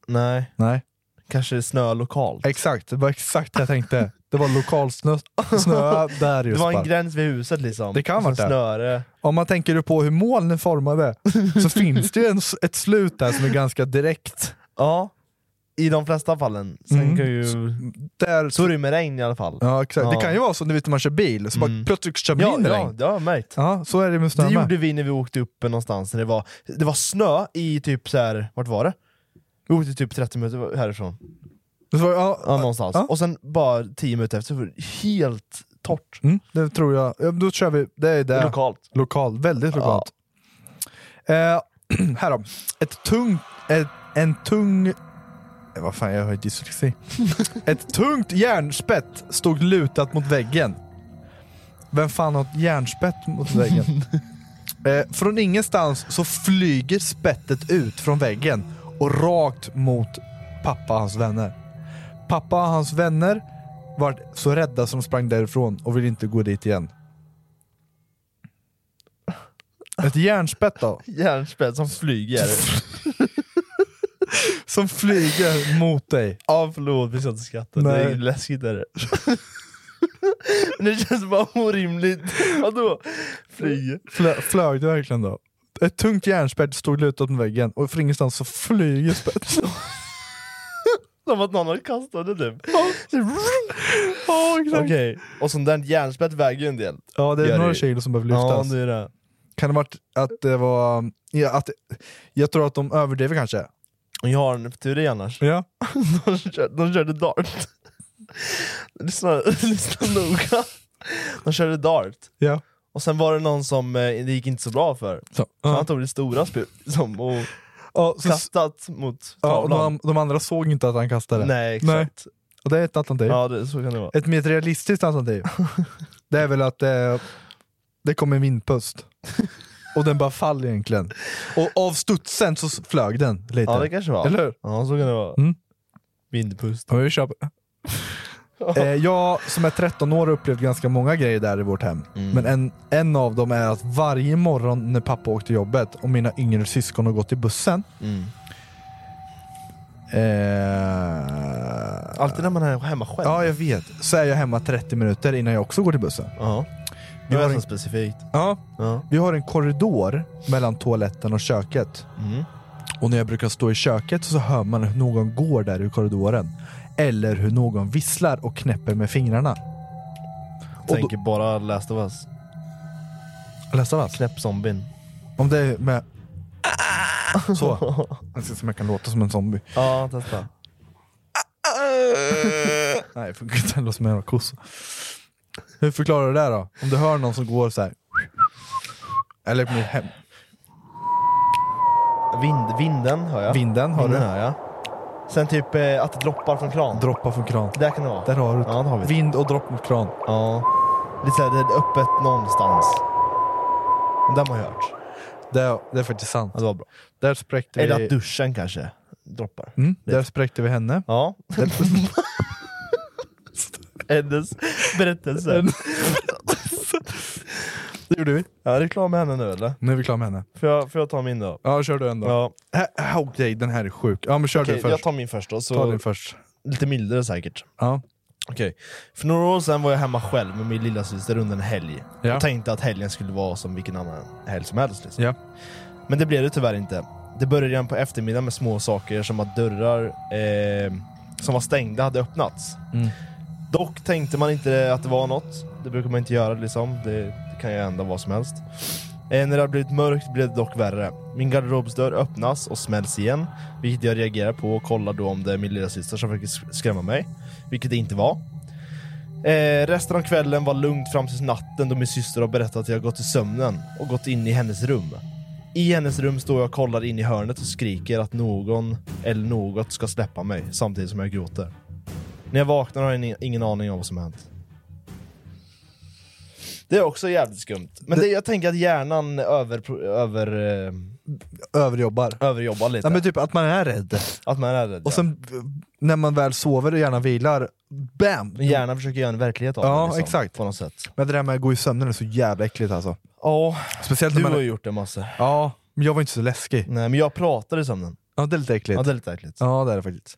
[SPEAKER 4] Nej,
[SPEAKER 3] Nej.
[SPEAKER 4] kanske snö lokalt.
[SPEAKER 3] Exakt, det var exakt det jag tänkte. Det var lokalsnö snö där
[SPEAKER 4] Det
[SPEAKER 3] just
[SPEAKER 4] var
[SPEAKER 3] bara.
[SPEAKER 4] en gräns vid huset liksom.
[SPEAKER 3] Det kan
[SPEAKER 4] Och
[SPEAKER 3] vara
[SPEAKER 4] sen
[SPEAKER 3] det.
[SPEAKER 4] snöre.
[SPEAKER 3] Om man tänker på hur molnen är formade så finns det ju en, s- ett slut där som är ganska direkt.
[SPEAKER 4] Ja, I de flesta fallen. Sen
[SPEAKER 3] Mm.
[SPEAKER 4] kan ju...
[SPEAKER 3] Där,
[SPEAKER 4] så är det ju med regn i alla fall.
[SPEAKER 3] Ja exakt, det
[SPEAKER 4] Ja. Mm.
[SPEAKER 3] kan ju vara så när man kör bil, så bara plötsligt kör man
[SPEAKER 4] Ja,
[SPEAKER 3] in i
[SPEAKER 4] ja,
[SPEAKER 3] regn.
[SPEAKER 4] det har jag märkt.
[SPEAKER 3] Ja, så är det med snö
[SPEAKER 4] Det
[SPEAKER 3] med.
[SPEAKER 4] gjorde vi när vi åkte upp någonstans, när det var, det var snö i typ så här, vart var det? Vi åkte typ 30 minuter härifrån.
[SPEAKER 3] ja,
[SPEAKER 4] någonstans.
[SPEAKER 3] ja.
[SPEAKER 4] Och sen bara 10 minuter efter så var det helt torrt.
[SPEAKER 3] Mm, det tror jag. Ja, Då kör vi, det är det.
[SPEAKER 4] Lokalt.
[SPEAKER 3] Lokal, väldigt lokalt. Eh, här då. Ett tungt, ett, en tung... eh, Vad fan, jag har ju dyslexi. ett tungt järnspett stod lutat mot väggen. Vem fan har ett järnspett mot väggen? eh, från ingenstans så flyger spettet ut från väggen och rakt mot pappa och hans vänner. Pappa och hans vänner var så rädda som de sprang därifrån och ville inte gå dit igen. Ett järnspett då?
[SPEAKER 4] Järnspett som flyger.
[SPEAKER 3] som flyger mot dig.
[SPEAKER 4] Ja förlåt, vi ska inte skratta. Det är
[SPEAKER 3] Nej.
[SPEAKER 4] ju läskigt är det. Men det känns bara orimligt. Vadå? Flyger.
[SPEAKER 3] Flö, flög det verkligen då? Ett tungt järnspett stod lutat mot väggen och från ingenstans så flyger spettet.
[SPEAKER 4] Som att någon har kastat det typ. Okej, och sånt där järnspett väger ju en del.
[SPEAKER 3] Ja, det
[SPEAKER 4] Gör
[SPEAKER 3] är
[SPEAKER 4] det
[SPEAKER 3] några
[SPEAKER 4] ju.
[SPEAKER 3] kilo som behöver
[SPEAKER 4] Ja,
[SPEAKER 3] lyftas.
[SPEAKER 4] det är det.
[SPEAKER 3] Kan det varit att det var... Ja, att, jag tror att de överdriver kanske.
[SPEAKER 4] Jag har en teori annars.
[SPEAKER 3] Ja.
[SPEAKER 4] De, kör, de körde dart. lyssna, lyssna noga. De körde dart.
[SPEAKER 3] Ja.
[SPEAKER 4] Och sen var det någon som eh, det gick inte så bra för.
[SPEAKER 3] Så,
[SPEAKER 4] Så
[SPEAKER 3] ja.
[SPEAKER 4] han tog det stora spjut liksom, och
[SPEAKER 3] så-
[SPEAKER 4] kastat mot
[SPEAKER 3] Ja, och
[SPEAKER 4] tavlan.
[SPEAKER 3] de, de andra såg inte att han kastade.
[SPEAKER 4] Nej, exakt.
[SPEAKER 3] Och det är ett alternativ.
[SPEAKER 4] Ja, det, så kan det vara.
[SPEAKER 3] Ett mer realistiskt alternativ, det är väl att det, det kom en vindpust. Och den bara fall egentligen. Och av studsen så s- flög den lite.
[SPEAKER 4] Ja, det kanske var.
[SPEAKER 3] Eller hur?
[SPEAKER 4] Ja, så kan det vara.
[SPEAKER 3] Mm.
[SPEAKER 4] Vindpust.
[SPEAKER 3] Ja, vi kör på det. Eh, jag som är 13 år har upplevt ganska många grejer där i vårt hem. Men en, en av dem är att varje morgon när pappa åkte till jobbet och mina yngre syskon har gått i bussen. Eh,
[SPEAKER 4] Alltid när man är hemma själv.
[SPEAKER 3] Ja, jag vet. Så är jag hemma 30 minuter innan jag också går till bussen.
[SPEAKER 4] Ja. Det
[SPEAKER 3] Vi har
[SPEAKER 4] var så
[SPEAKER 3] en,
[SPEAKER 4] specifikt.
[SPEAKER 3] ja,
[SPEAKER 4] Ja.
[SPEAKER 3] vi har en korridor mellan toaletten och köket.
[SPEAKER 4] Mm.
[SPEAKER 3] Och när jag brukar stå i köket så hör man hur någon går där i korridoren. Eller hur någon visslar och knäpper med fingrarna. Och då-
[SPEAKER 4] Tänker bara Last of Us.
[SPEAKER 3] Last of Us?
[SPEAKER 4] Knäpp zombien.
[SPEAKER 3] Om det är med...
[SPEAKER 4] Ah!
[SPEAKER 3] Så. Jag ser som jag kan låta som en zombie.
[SPEAKER 4] Ja, testa.
[SPEAKER 3] Nej, det funkar inte. Det låter som en jävla kossa. Hur förklarar du det då? Om du hör någon som går så här. Eller på mitt hem.
[SPEAKER 4] Vind, vinden hör jag.
[SPEAKER 3] Vinden har
[SPEAKER 4] vinden
[SPEAKER 3] du.
[SPEAKER 4] hör jag. Sen typ eh, att det droppar från kran.
[SPEAKER 3] Droppar från kran.
[SPEAKER 4] Där kan det vara.
[SPEAKER 3] Där har du det.
[SPEAKER 4] Ja, det har vi.
[SPEAKER 3] Vind och dropp mot kran.
[SPEAKER 4] Ja. Lite såhär, det är öppet någonstans. Den har jag hört.
[SPEAKER 3] Det, det är faktiskt sant.
[SPEAKER 4] Ja, det var bra.
[SPEAKER 3] Där spräckte
[SPEAKER 4] Eller
[SPEAKER 3] vi...
[SPEAKER 4] att duschen kanske droppar.
[SPEAKER 3] Mm, där spräckte vi henne.
[SPEAKER 4] Ja. Hennes berättelse.
[SPEAKER 3] Det gjorde vi.
[SPEAKER 4] Ja, är du klar med henne nu eller?
[SPEAKER 3] Nu är vi klara med henne.
[SPEAKER 4] Får jag, får jag ta min då?
[SPEAKER 3] Ja, kör du en då.
[SPEAKER 4] Ja.
[SPEAKER 3] Hä- hä, Okej, den här är sjuk. Ja, men kör
[SPEAKER 4] Okej,
[SPEAKER 3] du först.
[SPEAKER 4] jag tar min först då. Så
[SPEAKER 3] Ta din först.
[SPEAKER 4] Lite mildare säkert.
[SPEAKER 3] Ja.
[SPEAKER 4] Okej. För några år sedan var jag hemma själv med min lilla syster under en helg.
[SPEAKER 3] Ja.
[SPEAKER 4] Jag tänkte att helgen skulle vara som vilken annan helg som helst. Liksom.
[SPEAKER 3] Ja.
[SPEAKER 4] Men det blev det tyvärr inte. Det började redan på eftermiddagen med små saker som att dörrar eh, som var stängda hade öppnats.
[SPEAKER 3] Mm.
[SPEAKER 4] Dock tänkte man inte att det var något. Det brukar man inte göra liksom. Det, det kan ju hända vad som helst. Eh, när det har blivit mörkt blev det dock värre. Min garderobsdörr öppnas och smälls igen, vilket jag reagerar på och kollar då om det är min lilla syster som försöker sk- skrämma mig, vilket det inte var. Eh, resten av kvällen var lugnt fram till natten då min syster har berättat att jag har gått i sömnen och gått in i hennes rum. I hennes rum står jag och kollar in i hörnet och skriker att någon eller något ska släppa mig samtidigt som jag gråter. När jag vaknar har jag ni- ingen aning om vad som hänt. Det är också jävligt skumt. Men det, jag tänker att hjärnan över, över, eh,
[SPEAKER 3] Överjobbar.
[SPEAKER 4] överjobbar lite.
[SPEAKER 3] Ja, men typ att man är rädd.
[SPEAKER 4] Att man är rädd.
[SPEAKER 3] Och sen eh, när man väl sover och gärna vilar, bam!
[SPEAKER 4] ja. Hjärnan försöker göra en verklighet av
[SPEAKER 3] Ja,
[SPEAKER 4] det. Liksom,
[SPEAKER 3] exakt.
[SPEAKER 4] På något sätt.
[SPEAKER 3] Men det där med att gå i sömnen är så jävla äckligt alltså.
[SPEAKER 4] Ja,
[SPEAKER 3] Speciellt när
[SPEAKER 4] du
[SPEAKER 3] man...
[SPEAKER 4] har ju gjort det massor.
[SPEAKER 3] Ja, men jag var inte så läskig.
[SPEAKER 4] Nej, men jag pratade i sömnen.
[SPEAKER 3] Ja, det är lite äckligt.
[SPEAKER 4] Ja, det är lite äckligt.
[SPEAKER 3] Ja, det är det faktiskt.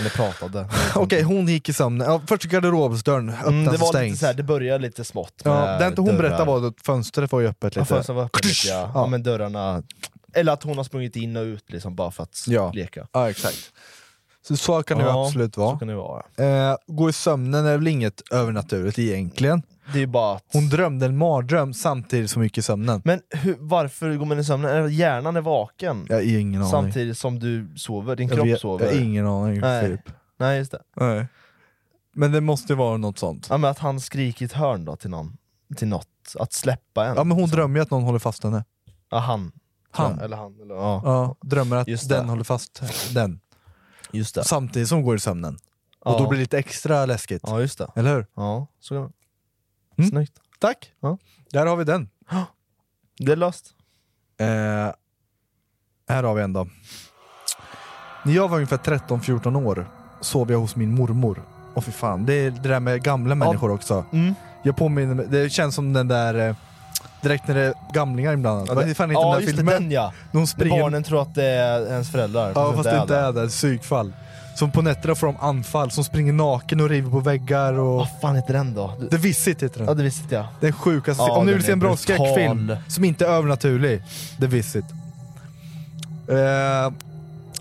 [SPEAKER 4] Eller pratade.
[SPEAKER 3] Okej, hon gick i sömnen. Ja, först garderobsdörren öppnas
[SPEAKER 4] Mm, det
[SPEAKER 3] och
[SPEAKER 4] var lite
[SPEAKER 3] Alltså, stängs.
[SPEAKER 4] så här, det började lite smått.
[SPEAKER 3] ja,
[SPEAKER 4] med
[SPEAKER 3] det inte hon
[SPEAKER 4] dörrar.
[SPEAKER 3] berättade var att fönstret var ju öppet
[SPEAKER 4] Ja,
[SPEAKER 3] lite.
[SPEAKER 4] fönstret var öppet lite, ja. ja.
[SPEAKER 3] Ja.
[SPEAKER 4] Men dörrarna... Eller att hon har sprungit in och ut liksom bara för att
[SPEAKER 3] Ja.
[SPEAKER 4] leka.
[SPEAKER 3] Ja, exakt. Så, så kan det ju
[SPEAKER 4] Ja,
[SPEAKER 3] absolut
[SPEAKER 4] så
[SPEAKER 3] vara.
[SPEAKER 4] kan det vara,
[SPEAKER 3] Eh, gå i sömnen är väl inget övernaturligt egentligen.
[SPEAKER 4] Det är bara
[SPEAKER 3] Hon drömde en mardröm samtidigt som hon gick i sömnen.
[SPEAKER 4] Men hur, varför går man i sömnen? Är det Hjärnan är vaken.
[SPEAKER 3] Jag har ingen aning.
[SPEAKER 4] Samtidigt som du sover, din
[SPEAKER 3] Jag
[SPEAKER 4] kropp
[SPEAKER 3] vet-
[SPEAKER 4] sover.
[SPEAKER 3] jag har ingen aning,
[SPEAKER 4] Nej.
[SPEAKER 3] Filip.
[SPEAKER 4] Nej, just det.
[SPEAKER 3] Nej. Men det måste ju vara något sånt.
[SPEAKER 4] Ja, men att han skriker i ett hörn då till någon. Till något. Att släppa en.
[SPEAKER 3] Ja men hon drömmer ju att någon håller fast henne.
[SPEAKER 4] Ja, han.
[SPEAKER 3] Han.
[SPEAKER 4] Ja, Eller han. Eller,
[SPEAKER 3] Ja.
[SPEAKER 4] ja.
[SPEAKER 3] drömmer att
[SPEAKER 4] Just det.
[SPEAKER 3] den håller fast den.
[SPEAKER 4] Just
[SPEAKER 3] Samtidigt som hon går i sömnen.
[SPEAKER 4] Ja.
[SPEAKER 3] Och då blir det lite extra läskigt.
[SPEAKER 4] Ja, just det.
[SPEAKER 3] Eller hur?
[SPEAKER 4] Ja, så kan
[SPEAKER 3] Mm.
[SPEAKER 4] Snyggt.
[SPEAKER 3] Tack!
[SPEAKER 4] Ja.
[SPEAKER 3] Där har vi den.
[SPEAKER 4] Det är löst.
[SPEAKER 3] Eh, här har vi en då. När jag var ungefär 13-14 år sov jag hos min mormor. Och fy fan, det är det där med gamla människor också.
[SPEAKER 4] Mm.
[SPEAKER 3] Jag påminner mig, det känns som den där eh, direkt när det är gamlingar ibland. Vad fan heter
[SPEAKER 4] ja,
[SPEAKER 3] den där
[SPEAKER 4] just
[SPEAKER 3] filmen?
[SPEAKER 4] det, den ja.
[SPEAKER 3] De springer-
[SPEAKER 4] Barnen tror att det är ens föräldrar. liksom
[SPEAKER 3] Ja fast det inte
[SPEAKER 4] det.
[SPEAKER 3] är det, psykfall. Som på nätterna får de anfall, som springer naken och river på väggar och... Vad
[SPEAKER 4] fan heter den då?
[SPEAKER 3] The Visit heter den.
[SPEAKER 4] Ja, det visste jag.
[SPEAKER 3] Den sjukaste,
[SPEAKER 4] Ja,
[SPEAKER 3] om ni
[SPEAKER 4] den
[SPEAKER 3] vill se en
[SPEAKER 4] är
[SPEAKER 3] bra
[SPEAKER 4] brutal.
[SPEAKER 3] skräckfilm som inte är övernaturlig, The Visit. Eh,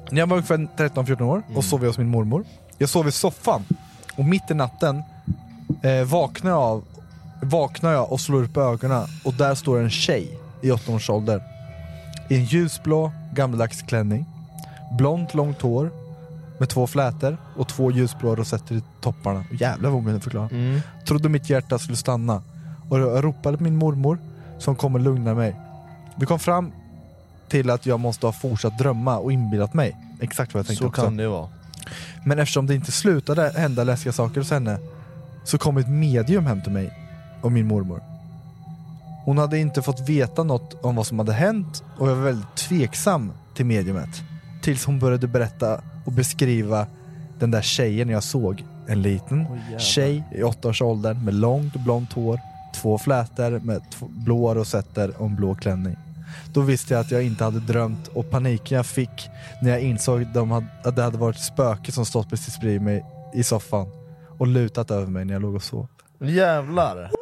[SPEAKER 3] när jag var ungefär 13-14 år
[SPEAKER 4] Mm.
[SPEAKER 3] och sov jag hos min mormor. Jag sov i soffan och mitt i natten eh, vaknar, jag av, vaknar jag och slår upp ögonen och där står en tjej i 8-årsåldern. I en ljusblå gammaldags klänning, blont långt hår med två flätor och två ljusblå rosetter i topparna. Jävlar vad hon förklara.
[SPEAKER 4] Mm.
[SPEAKER 3] Trodde mitt hjärta skulle stanna och jag ropade på min mormor som kom och lugnade mig. Vi kom fram till att jag måste ha fortsatt drömma och inbillat mig. Exakt vad jag tänkte
[SPEAKER 4] Så
[SPEAKER 3] också.
[SPEAKER 4] kan det ju vara.
[SPEAKER 3] Men eftersom det inte slutade hända läskiga saker hos henne så kom ett medium hem till mig och min mormor. Hon hade inte fått veta något om vad som hade hänt och jag var väldigt tveksam till mediumet. Tills hon började berätta och beskriva den där tjejen jag såg. En liten
[SPEAKER 4] jävlar.
[SPEAKER 3] tjej i åttaårsåldern med långt blont hår, två flätor med två blå rosetter och en blå klänning. Då visste jag att jag inte hade drömt och paniken jag fick när jag insåg att de hade- att det hade varit ett spöke som stått precis bredvid mig i soffan och lutat över mig när jag låg och sov.
[SPEAKER 4] Jävlar! Oh,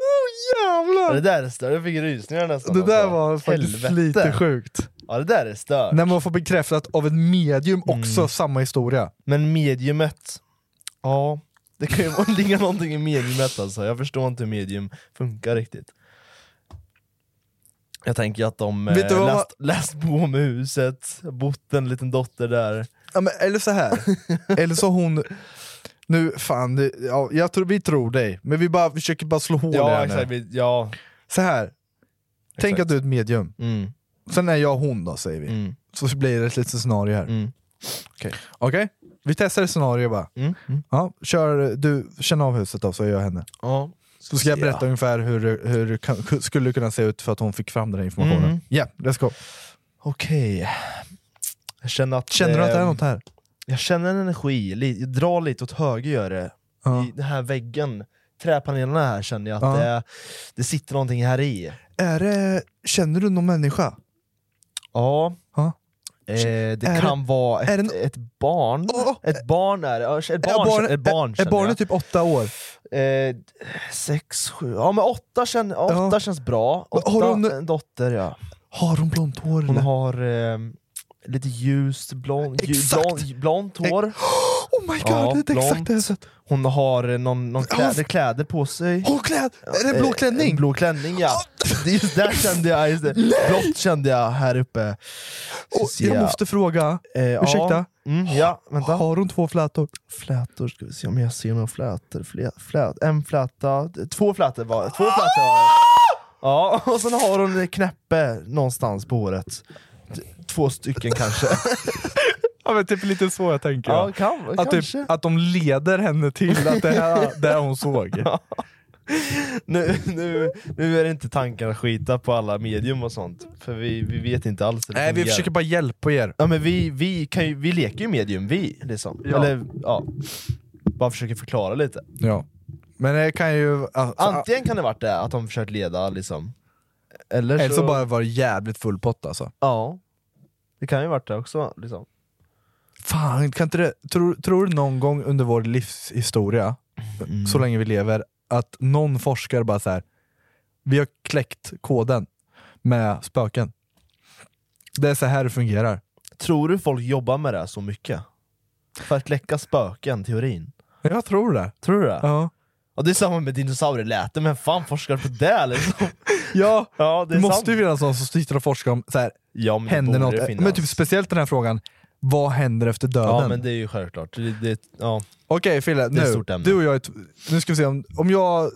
[SPEAKER 3] jävlar!
[SPEAKER 4] Det där är stört, jag fick rysningar nästan.
[SPEAKER 3] Det där
[SPEAKER 4] alltså.
[SPEAKER 3] var faktiskt
[SPEAKER 4] Helvete.
[SPEAKER 3] lite sjukt.
[SPEAKER 4] Ja det där är stört.
[SPEAKER 3] När man får bekräftat av ett medium också samma historia.
[SPEAKER 4] Men mediumet, ja det kan ju vara- ligga någonting i mediumet alltså. Jag förstår inte hur medium funkar riktigt. Jag tänker att de eh,
[SPEAKER 3] Vet du vad-
[SPEAKER 4] läst, läst på om huset, bott en liten dotter där.
[SPEAKER 3] Ja, men, eller så här. eller så hon... Nu, fan, det, ja, jag tror, vi tror dig, men vi bara, försöker bara slå hål i
[SPEAKER 4] Ja,
[SPEAKER 3] det
[SPEAKER 4] exakt,
[SPEAKER 3] här nu.
[SPEAKER 4] vi, ja. Mm.
[SPEAKER 3] Så här. tänk att du är ett medium. Sen är jag hon då, säger vi. Så blir det ett litet scenario här.
[SPEAKER 4] Mm.
[SPEAKER 3] Okej, Okej? vi testar ett scenario bara. Ja, kör, du, känn av huset då, så gör jag henne.
[SPEAKER 4] Ja.
[SPEAKER 3] Så ska jag berätta ungefär hur, det- hur det kan, skulle kunna se ut för att hon fick fram den här informationen.
[SPEAKER 4] Mm.
[SPEAKER 3] Yeah, let's go.
[SPEAKER 4] Okej. Jag känner att...
[SPEAKER 3] Känner du att det är
[SPEAKER 4] eh,
[SPEAKER 3] något här?
[SPEAKER 4] Jag känner en energi, li- jag drar lite åt höger gör det.
[SPEAKER 3] Ja.
[SPEAKER 4] I den här väggen, träpanelerna här känner jag att
[SPEAKER 3] Ja.
[SPEAKER 4] det, det sitter någonting här i.
[SPEAKER 3] Är det, känner du någon människa?
[SPEAKER 4] Ja.
[SPEAKER 3] Ja.
[SPEAKER 4] Eh, det
[SPEAKER 3] Är
[SPEAKER 4] kan
[SPEAKER 3] det-
[SPEAKER 4] vara
[SPEAKER 3] är
[SPEAKER 4] ett,
[SPEAKER 3] det no-
[SPEAKER 4] ett barn. Ett barn är det. Ja, Ett barn,
[SPEAKER 3] barnet-
[SPEAKER 4] ett barn
[SPEAKER 3] är
[SPEAKER 4] känner
[SPEAKER 3] barnet
[SPEAKER 4] jag.
[SPEAKER 3] typ åtta år?
[SPEAKER 4] Eh, sex, sju, ja men åtta, känn, åtta känns bra.
[SPEAKER 3] Men
[SPEAKER 4] Åtta,
[SPEAKER 3] har hon-
[SPEAKER 4] en dotter ja.
[SPEAKER 3] Har hon blont hår
[SPEAKER 4] Hon
[SPEAKER 3] eller?
[SPEAKER 4] har eh, lite ljust blond, ljus,
[SPEAKER 3] Exakt.
[SPEAKER 4] blond, blont hår.
[SPEAKER 3] Oh my god, det är exakt det huset.
[SPEAKER 4] Hon har eh, någon, någon
[SPEAKER 3] Har hon-
[SPEAKER 4] kläder, kläder på sig.
[SPEAKER 3] Har hon kläd? Är det
[SPEAKER 4] Eh,
[SPEAKER 3] blå
[SPEAKER 4] en
[SPEAKER 3] klänning?
[SPEAKER 4] Blå klänning ja. Det är Just där kände jag, just det. blått kände jag här uppe. Ska
[SPEAKER 3] Och
[SPEAKER 4] se.
[SPEAKER 3] jag måste fråga,
[SPEAKER 4] Eh, ja.
[SPEAKER 3] ursäkta?
[SPEAKER 4] Mm, ja, vänta.
[SPEAKER 3] Har hon två flätor?
[SPEAKER 4] Flätor, ska vi se om jag ser några flätor. Flä, flä, en fläta, två flätor var Två flätor var det. Ja,
[SPEAKER 3] Ah!
[SPEAKER 4] och sen har hon en knäppe någonstans på håret. T- Två stycken kanske.
[SPEAKER 3] Ja men typ lite så jag tänker.
[SPEAKER 4] Ja, kan-
[SPEAKER 3] att, typ,
[SPEAKER 4] kanske.
[SPEAKER 3] att de leder henne till att det här där hon såg.
[SPEAKER 4] nu, nu, nu är det inte tankar att skita på alla medium och sånt, för vi, vi vet inte alls hur det
[SPEAKER 3] Nej vi
[SPEAKER 4] fungerar.
[SPEAKER 3] försöker bara hjälpa er.
[SPEAKER 4] Ja men vi, vi, kan ju, vi leker ju medium vi, liksom.
[SPEAKER 3] Ja.
[SPEAKER 4] Eller, ja. Bara försöker förklara lite.
[SPEAKER 3] Ja. Men det kan ju... Alltså,
[SPEAKER 4] Antingen kan det varit det, att de försökt leda liksom. Eller,
[SPEAKER 3] eller så bara var det jävligt full pott alltså.
[SPEAKER 4] Ja. Det kan ju varit det också. Liksom.
[SPEAKER 3] Fan, kan inte det, tror, tror du någon gång under vår livshistoria,
[SPEAKER 4] Mm.
[SPEAKER 3] så länge vi lever, att någon forskare bara så här. vi har kläckt koden med spöken. Det är så här det fungerar.
[SPEAKER 4] Tror du folk jobbar med det här så mycket? För att kläcka spöken, teorin.
[SPEAKER 3] Jag tror det.
[SPEAKER 4] Tror du det?
[SPEAKER 3] Ja.
[SPEAKER 4] Och det är samma med dinosaurieläten, men fan forskar du på det liksom?
[SPEAKER 3] ja,
[SPEAKER 4] ja,
[SPEAKER 3] det måste ju finnas någon som sitter och forskar om så här,
[SPEAKER 4] ja, Äh, men det
[SPEAKER 3] händer
[SPEAKER 4] borde
[SPEAKER 3] något.
[SPEAKER 4] det finnas.
[SPEAKER 3] Men typ speciellt den här frågan, vad händer efter döden?
[SPEAKER 4] Ja men det är ju självklart. Det, det, ja.
[SPEAKER 3] Okej Fille,
[SPEAKER 4] Det är ett
[SPEAKER 3] nu,
[SPEAKER 4] stort ämne.
[SPEAKER 3] du och jag, är t- nu ska vi se om, om jag,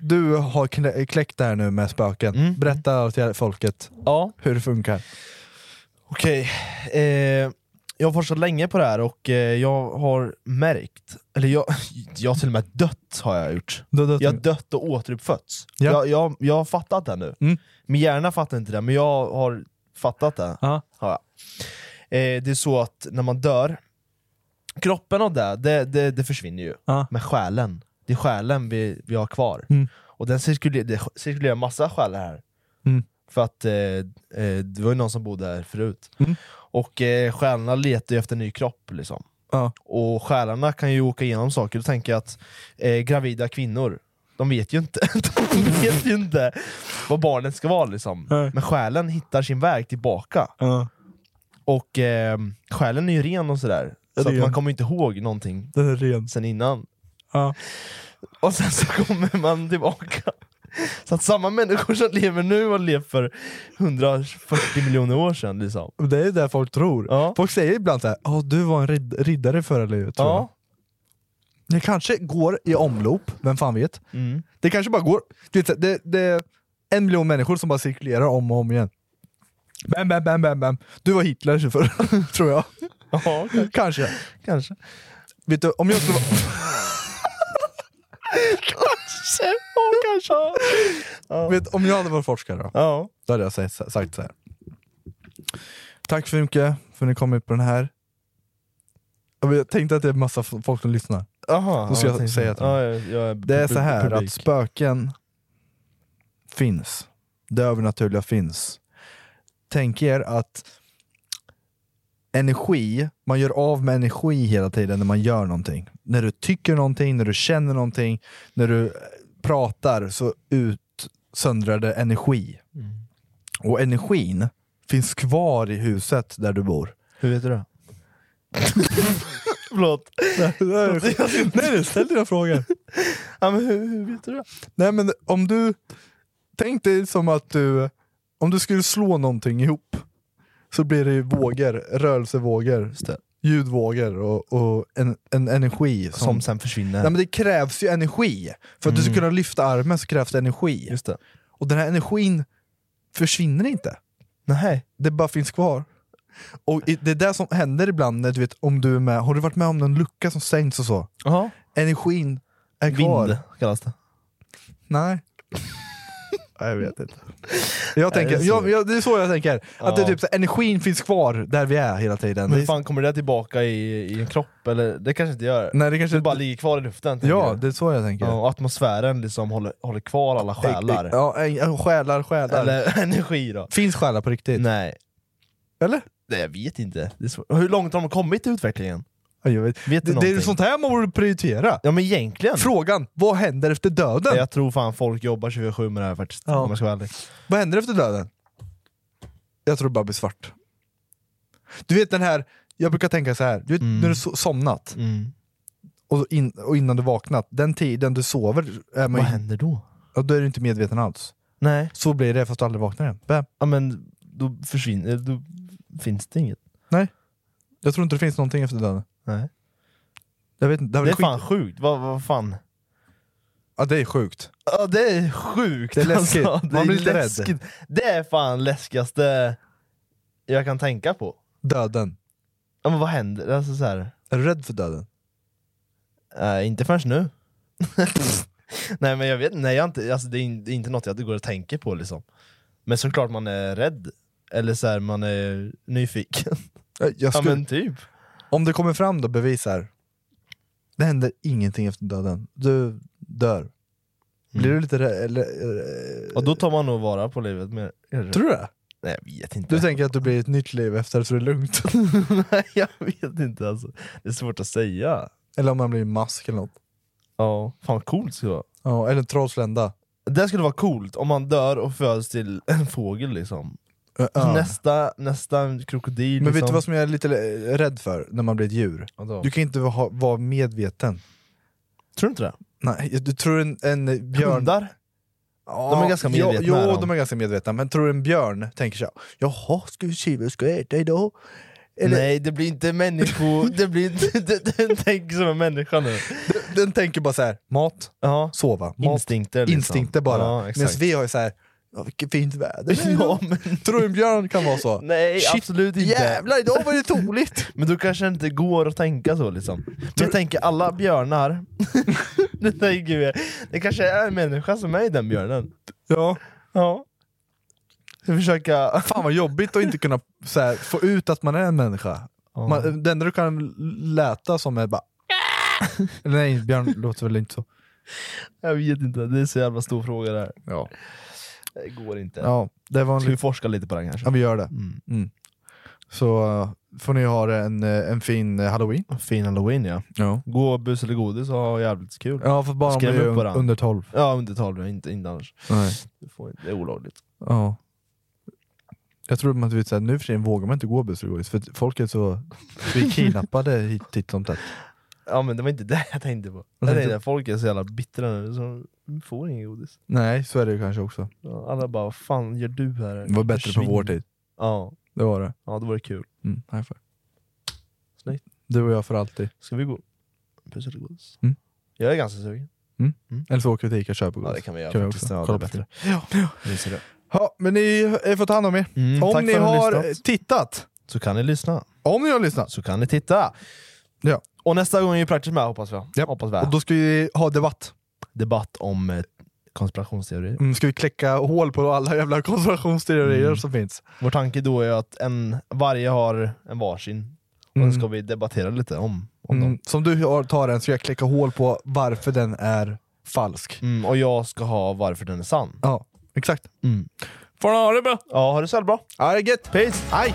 [SPEAKER 3] du har knä, kläckt det här nu med spöken.
[SPEAKER 4] Mm.
[SPEAKER 3] Berätta till folket
[SPEAKER 4] Ja.
[SPEAKER 3] hur det funkar.
[SPEAKER 4] Okej, eh, jag har forskat länge på det här och eh, jag har märkt, eller jag, jag har till och med dött har jag gjort.
[SPEAKER 3] Du har dött
[SPEAKER 4] jag har
[SPEAKER 3] nu.
[SPEAKER 4] dött och återuppfötts.
[SPEAKER 3] Ja. Mm.
[SPEAKER 4] Jag, jag, jag har fattat det nu. Min hjärna fattar inte det, men jag har fattat det. Har jag. Eh, det är så att när man dör, kroppen och det, det, det, det försvinner ju. Men själen, det är själen vi, vi har kvar.
[SPEAKER 3] Mm.
[SPEAKER 4] Och den cirkulerar, det cirkulerar massa själar här.
[SPEAKER 3] Mm.
[SPEAKER 4] För att eh, eh, det var ju någon som bodde här förut.
[SPEAKER 3] Mm.
[SPEAKER 4] Och eh, själarna letar ju efter en ny kropp. Liksom.
[SPEAKER 3] Ja.
[SPEAKER 4] Och själarna kan ju åka igenom saker. Då tänker jag att eh, gravida kvinnor, de vet ju inte, de vet ju inte vad barnet ska vara. Liksom. Men själen hittar sin väg tillbaka. Och eh, själen är ju ren och sådär.
[SPEAKER 3] Ja,
[SPEAKER 4] Så
[SPEAKER 3] det är
[SPEAKER 4] att man
[SPEAKER 3] den.
[SPEAKER 4] kommer inte ihåg någonting
[SPEAKER 3] Den är ren.
[SPEAKER 4] sen innan.
[SPEAKER 3] Ja.
[SPEAKER 4] Och sen så kommer man tillbaka. Så att samma människor som lever nu har levt för 140 miljoner år sedan. Liksom.
[SPEAKER 3] Och Det är ju det folk tror. Folk säger ibland såhär, oh, du var en rid- riddare i förra livet. Tror
[SPEAKER 4] Ja.
[SPEAKER 3] jag. Det kanske går i omlopp, vem fan vet?
[SPEAKER 4] Mm.
[SPEAKER 3] Det kanske bara går, du vet, så här, det, det är en miljon människor som bara cirkulerar om och om igen. Bam, bam, bam, bam, bam. Du var Hitler förr, tror jag.
[SPEAKER 4] Ja,
[SPEAKER 3] kanske.
[SPEAKER 4] kanske.
[SPEAKER 3] Vet du, om jag skulle vara...
[SPEAKER 4] kanske. Ja, kanske.
[SPEAKER 3] Vet, om jag hade varit forskare då,
[SPEAKER 4] ja.
[SPEAKER 3] då hade jag sagt, sagt så här. Tack så mycket för att ni kom ut på den här. Jag vet- Jag tänkte att det är massa f- folk som lyssnar.
[SPEAKER 4] Aha,
[SPEAKER 3] Då ska
[SPEAKER 4] ja,
[SPEAKER 3] jag
[SPEAKER 4] tänkte-
[SPEAKER 3] säga till dem.
[SPEAKER 4] ja, jag- jag är
[SPEAKER 3] Det är så här
[SPEAKER 4] publik.
[SPEAKER 3] att spöken finns. Det övernaturliga finns. Tänk er att energi, man gör av med energi hela tiden när man gör någonting. När du tycker någonting, när du känner någonting, när du eh, pratar så utsöndrar det energi. Och energin finns kvar i huset där du bor.
[SPEAKER 4] Hur vet du det? Förlåt.
[SPEAKER 3] nej, nej, ställ dina frågor.
[SPEAKER 4] ja, men hur, hur vet du det?
[SPEAKER 3] Nej men om du, tänk dig som att du, om du skulle slå någonting ihop så blir det ju vågor, rörelsevågor, ljudvågor och, och en, en energi. Som,
[SPEAKER 4] Som sen försvinner.
[SPEAKER 3] Nej men det krävs ju energi. För att du ska kunna lyfta armen så krävs det energi.
[SPEAKER 4] Just det.
[SPEAKER 3] Och den här energin försvinner inte.
[SPEAKER 4] Nej.
[SPEAKER 3] Det bara finns kvar. Och i- det är det som händer ibland när du vet om du är med, har du varit med om någon lucka som stängts och så?
[SPEAKER 4] Aha.
[SPEAKER 3] Energin är kvar.
[SPEAKER 4] Vind kallas det.
[SPEAKER 3] Nej. jag vet inte. Jag tänker,
[SPEAKER 4] det är så.
[SPEAKER 3] jag, jag, det är så jag tänker. Att det är
[SPEAKER 4] Ja.
[SPEAKER 3] typ så, här, energin finns kvar där vi är hela tiden.
[SPEAKER 4] Men
[SPEAKER 3] Det
[SPEAKER 4] hur
[SPEAKER 3] är-
[SPEAKER 4] fan kommer det tillbaka i, i en kropp? Eller, det kanske inte gör.
[SPEAKER 3] Nej, det kanske
[SPEAKER 4] bara
[SPEAKER 3] inte-
[SPEAKER 4] ligger kvar i luften. tänker
[SPEAKER 3] ja,
[SPEAKER 4] jag.
[SPEAKER 3] det är så jag tänker.
[SPEAKER 4] Ja, och atmosfären liksom håller, håller kvar alla själar.
[SPEAKER 3] Ja, en- själar, själar.
[SPEAKER 4] Eller energi då.
[SPEAKER 3] Finns själar på riktigt?
[SPEAKER 4] Nej.
[SPEAKER 3] Eller?
[SPEAKER 4] Nej, jag vet inte. Det är svårt. Hur långt har de kommit i utvecklingen?
[SPEAKER 3] Ja, jag vet.
[SPEAKER 4] Vet du
[SPEAKER 3] det, det är
[SPEAKER 4] någonting?
[SPEAKER 3] ju sånt här man borde prioritera.
[SPEAKER 4] Ja men egentligen.
[SPEAKER 3] Frågan, vad händer efter döden?
[SPEAKER 4] Jag tror fan folk jobbar 24-7 med det här faktiskt.
[SPEAKER 3] Ja.
[SPEAKER 4] Om jag ska vara ärlig.
[SPEAKER 3] Vad händer efter döden? Jag tror det bara blir svart. Du vet den här, jag brukar tänka så här. du vet när du so- somnat
[SPEAKER 4] Mm.
[SPEAKER 3] och, in, och innan du vaknat, den tiden du sover är man
[SPEAKER 4] Vad
[SPEAKER 3] ju
[SPEAKER 4] händer då?
[SPEAKER 3] Ja, då är du inte medveten alls.
[SPEAKER 4] Nej.
[SPEAKER 3] Så blir det fast du aldrig vaknar igen. Bam.
[SPEAKER 4] Ja men då försvinner, då finns det inget.
[SPEAKER 3] Nej. Jag tror inte det finns någonting efter döden.
[SPEAKER 4] Nej.
[SPEAKER 3] Jag vet inte, det,
[SPEAKER 4] Det
[SPEAKER 3] det,
[SPEAKER 4] är fan
[SPEAKER 3] skit...
[SPEAKER 4] sjukt, vad, vad fan?
[SPEAKER 3] ja, det är sjukt.
[SPEAKER 4] Ja det är sjukt alltså.
[SPEAKER 3] Det är läskigt.
[SPEAKER 4] det
[SPEAKER 3] Man
[SPEAKER 4] är
[SPEAKER 3] blir lite rädd.
[SPEAKER 4] läskigt. Det är fan läskigaste jag kan tänka på.
[SPEAKER 3] Döden.
[SPEAKER 4] Ja men vad händer? Alltså så här.
[SPEAKER 3] Är du rädd för döden?
[SPEAKER 4] Eh, inte förrän nu. nej men jag vet nej, jag har inte, alltså, det, är, in- det är inte något jag går och tänker på liksom. Men såklart man är rädd. Eller så här, man är nyfiken.
[SPEAKER 3] Jag, jag
[SPEAKER 4] ja
[SPEAKER 3] skulle...
[SPEAKER 4] men typ.
[SPEAKER 3] Om det kommer fram då bevis här. Det händer ingenting efter döden. Du
[SPEAKER 4] Mm.
[SPEAKER 3] dör. Blir du lite rädd? Eller, eh,
[SPEAKER 4] Och då tar man nog vara på livet mer.
[SPEAKER 3] tror du det?
[SPEAKER 4] Nej jag vet inte.
[SPEAKER 3] Du tänker att du blir ett nytt liv efter så det är lugnt?
[SPEAKER 4] nej jag vet inte alltså. Det är svårt att säga.
[SPEAKER 3] eller om man blir en mask eller något?
[SPEAKER 4] Ja, fan vad coolt det skulle vara.
[SPEAKER 3] Ja, eller en trollslända?
[SPEAKER 4] Det skulle vara coolt om man dör och föds till en fågel liksom. Så Nästa, nästa krokodil
[SPEAKER 3] Men vet du
[SPEAKER 4] liksom.
[SPEAKER 3] vad som jag är lite l- rädd för när man blir ett djur?
[SPEAKER 4] Vadå?
[SPEAKER 3] Du kan inte ha, vara medveten.
[SPEAKER 4] Tror du inte det?
[SPEAKER 3] Nej, jag- du tror en, en björn...
[SPEAKER 4] Hundar? De är ganska
[SPEAKER 3] ja,
[SPEAKER 4] medvetna,
[SPEAKER 3] Jo,
[SPEAKER 4] är de.
[SPEAKER 3] de är ganska medvetna, men tror du en björn tänker så här, jaha, ska vi se vad jag ska äta idag? Eller-
[SPEAKER 4] Nej, det blir inte människo... det blir inte... det- Den tänker som en människa nu.
[SPEAKER 3] Den, den tänker bara så här, mat, sova, mat,
[SPEAKER 4] Instinkter liksom.
[SPEAKER 3] instinkter bara.
[SPEAKER 4] Ja,
[SPEAKER 3] Ja,
[SPEAKER 4] exakt.
[SPEAKER 3] Medan vi har ju så här, ja, vilket fint väder det är idag." Tror du en björn kan vara så?
[SPEAKER 4] Nej,
[SPEAKER 3] Shit,
[SPEAKER 4] absolut inte.
[SPEAKER 3] Jävlar, idag var det toligt!
[SPEAKER 4] Men då kanske det inte går att tänka så liksom. Men jag tänker alla björnar, det, tänker jag, det kanske är en människa som är i den björnen.
[SPEAKER 3] Ja.
[SPEAKER 4] ja. Jag försöka...
[SPEAKER 3] Fan vad jobbigt att inte kunna så här, få ut att man är en människa. Man, det enda du kan läta som är bara... Eller nej, Björn låter väl inte så.
[SPEAKER 4] Jag vet inte, det är så jävla stor fråga där.
[SPEAKER 3] Ja.
[SPEAKER 4] Det går inte.
[SPEAKER 3] Ja, det var en
[SPEAKER 4] Ska vi forska lite på den kanske?
[SPEAKER 3] Ja, vi gör det.
[SPEAKER 4] Mm.
[SPEAKER 3] Typ. Mm. Så eh, får ni ha det en, eh, en fin eh, halloween.
[SPEAKER 4] Fin halloween ja.
[SPEAKER 3] Ja,
[SPEAKER 4] Gå och bus eller godis och ha jävligt kul.
[SPEAKER 3] ja för bara om
[SPEAKER 4] Skräm
[SPEAKER 3] du är
[SPEAKER 4] upp
[SPEAKER 3] un-
[SPEAKER 4] varandra.
[SPEAKER 3] under 12.
[SPEAKER 4] Ja, under 12, ja, inte, inte annars.
[SPEAKER 3] Nej.
[SPEAKER 4] Du får, inte- det är olagligt.
[SPEAKER 3] Ja. Jag tror att du vet, så här, nu för tiden vågar man inte gå busregodis för att folk är så... Vi är kidnappade hit titt som tätt.
[SPEAKER 4] Ja men det var inte det jag tänkte på. Jag
[SPEAKER 3] tänkte
[SPEAKER 4] tänkte
[SPEAKER 3] du?
[SPEAKER 4] att folk är så jävla bittra nu, så de får ingen godis.
[SPEAKER 3] Nej, så är det ju kanske också.
[SPEAKER 4] Ja, Alla bara, vad fan gör du här?
[SPEAKER 3] Det var bättre på
[SPEAKER 4] Försvinn."
[SPEAKER 3] vår tid.
[SPEAKER 4] Ja,
[SPEAKER 3] Det var det.
[SPEAKER 4] ja, då var det kul.
[SPEAKER 3] Mm. high five.
[SPEAKER 4] Snyggt.
[SPEAKER 3] Du och jag för alltid.
[SPEAKER 4] Ska vi gå? Puss eller godis?
[SPEAKER 3] Mm.
[SPEAKER 4] Jag är ganska sugen.
[SPEAKER 3] Eller så åker vi till Ica och köper godis.
[SPEAKER 4] Ja det kan vi göra
[SPEAKER 3] vi
[SPEAKER 4] faktiskt.
[SPEAKER 3] också.
[SPEAKER 4] Ja, det
[SPEAKER 3] Kolla
[SPEAKER 4] är
[SPEAKER 3] på
[SPEAKER 4] bättre.
[SPEAKER 3] film.
[SPEAKER 4] Ja, vi ser det.
[SPEAKER 3] Ja, men ni eh, får ta hand om er.
[SPEAKER 4] Mm, tack
[SPEAKER 3] om ni
[SPEAKER 4] för att ni
[SPEAKER 3] har
[SPEAKER 4] lyssnat.
[SPEAKER 3] tittat,
[SPEAKER 4] Så kan ni lyssna.
[SPEAKER 3] om ni har lyssnat,
[SPEAKER 4] Så kan ni titta.
[SPEAKER 3] Ja.
[SPEAKER 4] Och nästa gång är ju praktiskt med hoppas vi.
[SPEAKER 3] Ja.
[SPEAKER 4] Hoppas vi.
[SPEAKER 3] och då ska vi ha debatt.
[SPEAKER 4] Debatt om eh, konspirationsteorier.
[SPEAKER 3] Mm, ska vi kläcka hål på alla jävla konspirationsteorier som finns.
[SPEAKER 4] Vår tanke då är att en, varje har en varsin. Och
[SPEAKER 3] Mm.
[SPEAKER 4] den ska vi debattera lite om, om dem.
[SPEAKER 3] Mm, som du har- tar den ska jag kläcka hål på varför den är falsk.
[SPEAKER 4] Mm, och jag ska ha varför den är sann.
[SPEAKER 3] Ja, exakt.
[SPEAKER 4] Mm.
[SPEAKER 3] Får ni ha det bra?
[SPEAKER 4] Ja, ha det så jävla bra.
[SPEAKER 3] Ha det gött!
[SPEAKER 4] Peace! Hej!